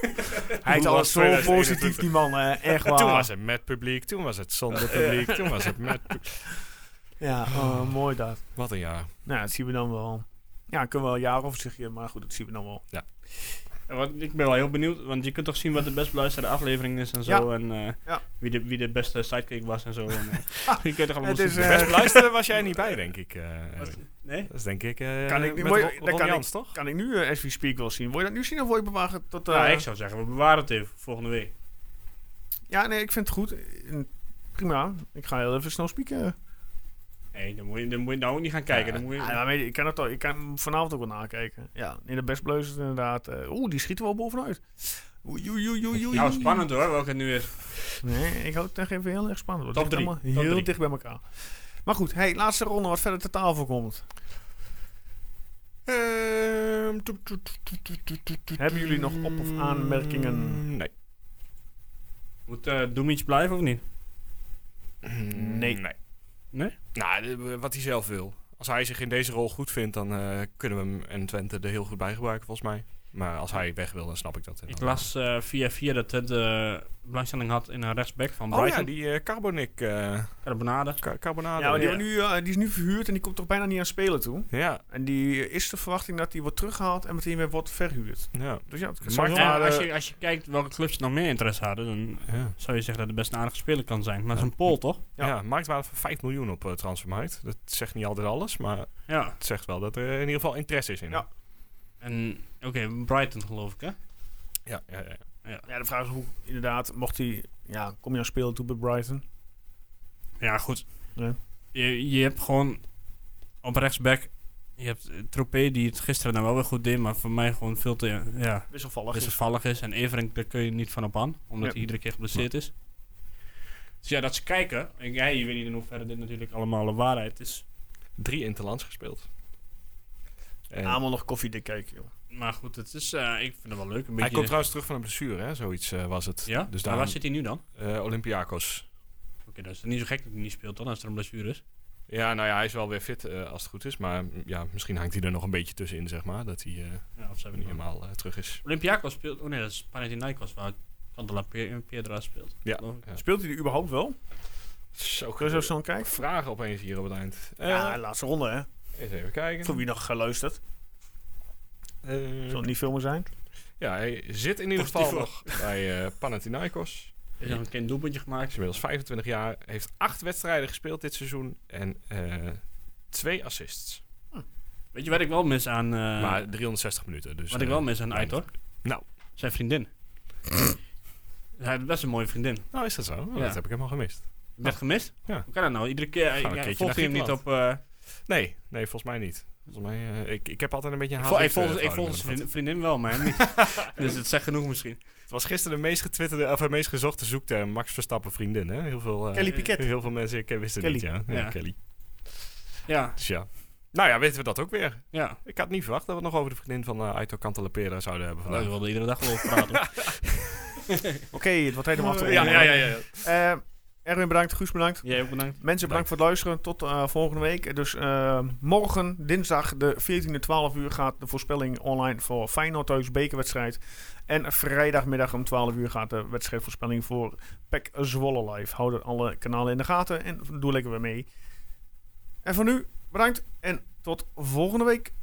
S1: Hij is
S2: Hoe
S1: altijd
S2: was
S1: zo
S2: 2021?
S1: positief, die man. eh, echt waar.
S2: Toen was het met publiek, toen was het zonder publiek, toen was het met publiek.
S1: Ja, oh, mooi dat.
S2: Wat een jaar.
S1: Nou, dat zien we dan wel. Ja, kunnen we wel jaren over zeggen, maar goed, dat zien we dan wel.
S5: Ja, want ik ben wel heel benieuwd, want je kunt toch zien wat de best beluisterde aflevering is en zo. En eh,
S1: Ja.
S5: wie, de, wie de beste sidekick was en zo. En, (laughs) eh, je kunt toch allemaal
S1: Het is,
S5: zien.
S1: eh,
S2: Best luisteren was jij niet bij, denk ik. eh,
S5: Wat?
S2: Erwin.
S5: Nee?
S2: dat is denk ik... eh,
S1: Kan ik niet-
S2: met
S1: mooi-
S2: Ro-
S1: dat
S2: Ron
S1: kan ik-
S2: Jans, toch?
S1: Kan ik nu eh, SV Speak wel zien? Wil je dat nu zien of wil je bewaren tot... eh,
S5: Nou, ik zou zeggen, we bewaren het even voor volgende week.
S1: Ja, nee, ik vind het goed. Eh, Prima. Ik ga heel even snel spieken.
S5: Nee, dan moet je, dan moet je nou ook niet gaan kijken. Dan moet je,
S1: Ja, maar weet je, ik kan het al. Ik kan hem vanavond ook wel nakijken. Ja, in de best bleus inderdaad. eh, Oeh, die schieten wel bovenuit. Oei, oei, oei, oei, oei.
S5: nou, spannend hoor, welke het nu is.
S1: Nee, ik hoop het echt even heel erg spannend. Het
S5: Top
S1: ligt
S5: drie.
S1: allemaal
S5: Top
S1: Heel
S5: drie.
S1: dicht bij elkaar. Maar goed, hey, laatste ronde wat verder ter tafel komt.
S2: Ehm, toet, toet, toet, toet, toet, toet, toet.
S1: Hebben jullie nog op- of aanmerkingen?
S2: Nee.
S5: Moet eh Doemits blijven of niet?
S1: Nee.
S2: nee.
S5: Nee?
S2: Nou, de- wat hij zelf wil. Als hij zich in deze rol goed vindt, dan eh, kunnen we hem en Twente er heel goed bij gebruiken, volgens mij. Maar als hij weg wil, dan snap ik dat.
S5: Ik las eh, via via dat Twente eh, belangstelling had in een rechtsback van
S2: Oh ja,
S5: Brighton.
S2: die eh, Carbonic. eh,
S5: Carbonade.
S2: Car- Carbonade.
S1: Ja, maar die,
S2: Ah, ja.
S1: hebben nu, eh, die is nu verhuurd en die komt toch bijna niet aan spelen toe.
S2: Ja,
S1: En die is de verwachting dat die wordt teruggehaald en meteen weer wordt verhuurd.
S2: ja.
S1: Dus ja, het
S2: Maar-
S1: zou
S2: Ja,
S1: wel-
S5: Ja,
S2: maar,
S5: als,
S2: eh,
S5: je, als je kijkt welke clubs nog meer interesse hadden, dan
S2: ja.
S5: zou je zeggen dat het best een aardige speler kan zijn. Maar dat is een pool, toch?
S1: Ja.
S2: Ja, marktwaarde van 5 miljoen op eh, transfermarkt. Dat zegt niet altijd alles, maar
S5: Ja.
S2: het zegt wel dat er in ieder geval interesse is in.
S1: Ja.
S2: hem.
S5: En oké, Brighton geloof ik, hè?
S2: Ja, ja, ja.
S1: ja, de vraag is hoe, inderdaad, mocht hij... Ja, kom je aan spelen toe bij Brighton?
S5: Ja, goed.
S1: Ja.
S5: Je, je hebt gewoon op rechtsback... Je hebt eh, Troepé, die het gisteren dan wel weer goed deed, maar voor mij gewoon veel te... Ja,
S1: Wisselvallig. is.
S5: wisselvallig is. En Everink, daar kun je niet van op aan, omdat
S1: Ja.
S5: hij iedere keer geblesseerd is. Dus ja, dat ze kijken. En ja, je weet niet in hoeverre dit natuurlijk allemaal de waarheid is.
S2: Drie interlands gespeeld. En
S1: Allemaal nog koffiedik kijken, joh.
S5: Maar goed, het is, eh, ik vind het wel leuk. Een
S2: hij
S5: beetje,
S2: komt trouwens terug van een blessure, hè? zoiets eh, was het.
S5: ja?
S2: Dus
S5: maar
S2: daar
S5: waar zit hij nu dan?
S2: Olympiakos.
S5: Oké, dat is niet zo gek dat hij niet speelt dan, als er een blessure is.
S2: Ja, nou ja, hij is wel weer fit eh, als het goed is. Maar mm, ja, misschien hangt hij er nog een beetje tussenin, zeg maar. Dat hij eh,
S5: Ja, of ze hebben
S2: niet
S5: niet helemaal.
S2: helemaal eh, terug is.
S5: Olympiakos speelt... Oh nee, dat is Panathinaikos waar Candela Pe- Piedra speelt.
S2: Ja.
S5: geloof ik.
S1: Speelt hij die überhaupt wel?
S2: Zo
S1: Kun je zo snel kijken?
S2: Vragen opeens hier op het eind. Eh,
S1: ja, laatste ronde, hè?
S2: Eens even
S1: Voor
S2: kijken.
S1: wie nog geluisterd.
S2: Eh,
S1: Zal het niet veel meer zijn?
S2: ja, hij zit in ieder geval nog bij eh Panathinaikos.
S5: Heeft nog een klein doelpuntje
S2: Hij
S5: gemaakt.
S2: is inmiddels 25 jaar, heeft acht wedstrijden gespeeld dit seizoen en eh, twee assists.
S5: Weet je wat ik wel mis aan... eh,
S2: maar 360 minuten. Dus,
S5: wat ik
S2: eh,
S5: wel mis aan
S2: weinig.
S5: Aitor?
S2: Nou.
S5: Zijn
S2: (laughs)
S5: vriendin. Hij heeft best een mooie vriendin.
S2: Nou, is dat zo? Nou,
S5: Ja.
S2: Dat heb ik helemaal gemist.
S5: Ik werd gemist?
S2: Ja.
S5: Hoe kan dat nou? Iedere keer...
S2: een
S5: Ja,
S2: keertje
S5: volgt hij hem
S2: naar
S5: niet op... eh,
S2: Nee, nee, volgens mij niet. Volgens mij, eh, ik, ik heb altijd een beetje een
S5: ik
S2: haat.
S5: vol- ik volg,
S2: eh,
S5: ik volg
S2: verhouding
S5: zijn
S2: met
S5: vriendin, vriendin wel, maar
S2: (laughs)
S5: hem niet. dus het zegt genoeg misschien.
S2: dat. Het was gisteren de meest getwitterde, of de meest gezochte zoekterm Max Verstappen vriendin. Hè? Heel veel, eh,
S1: Kelly Piquet.
S2: Heel veel mensen ik, wisten
S1: Kelly.
S2: niet, ja. Ja,
S5: Ja.
S2: Kelly.
S5: Ja,
S2: Dus ja. Nou ja, weten we dat ook weer.
S5: ja.
S2: Ik had niet verwacht dat we het nog over de vriendin van eh Aitor Cantalapera zouden hebben
S5: Nou,
S2: vandaag.
S5: we wilden iedere dag wel over praten.
S1: Oké, het wordt helemaal af te
S2: (laughs) ja,
S1: ronden.
S2: ja, ja, ja.
S1: Eh, Erwin bedankt, Guus bedankt.
S5: Jij ook bedankt.
S1: Mensen, bedankt voor het luisteren. Tot eh, volgende week. Dus eh, morgen, dinsdag, de 14e, 12 uur gaat de voorspelling online voor Feyenoord thuis, bekerwedstrijd. En vrijdagmiddag om 12 uur gaat de wedstrijdvoorspelling voor PEC Zwolle live. Houden alle kanalen in de gaten en doe lekker weer mee. En voor nu, bedankt en tot volgende week.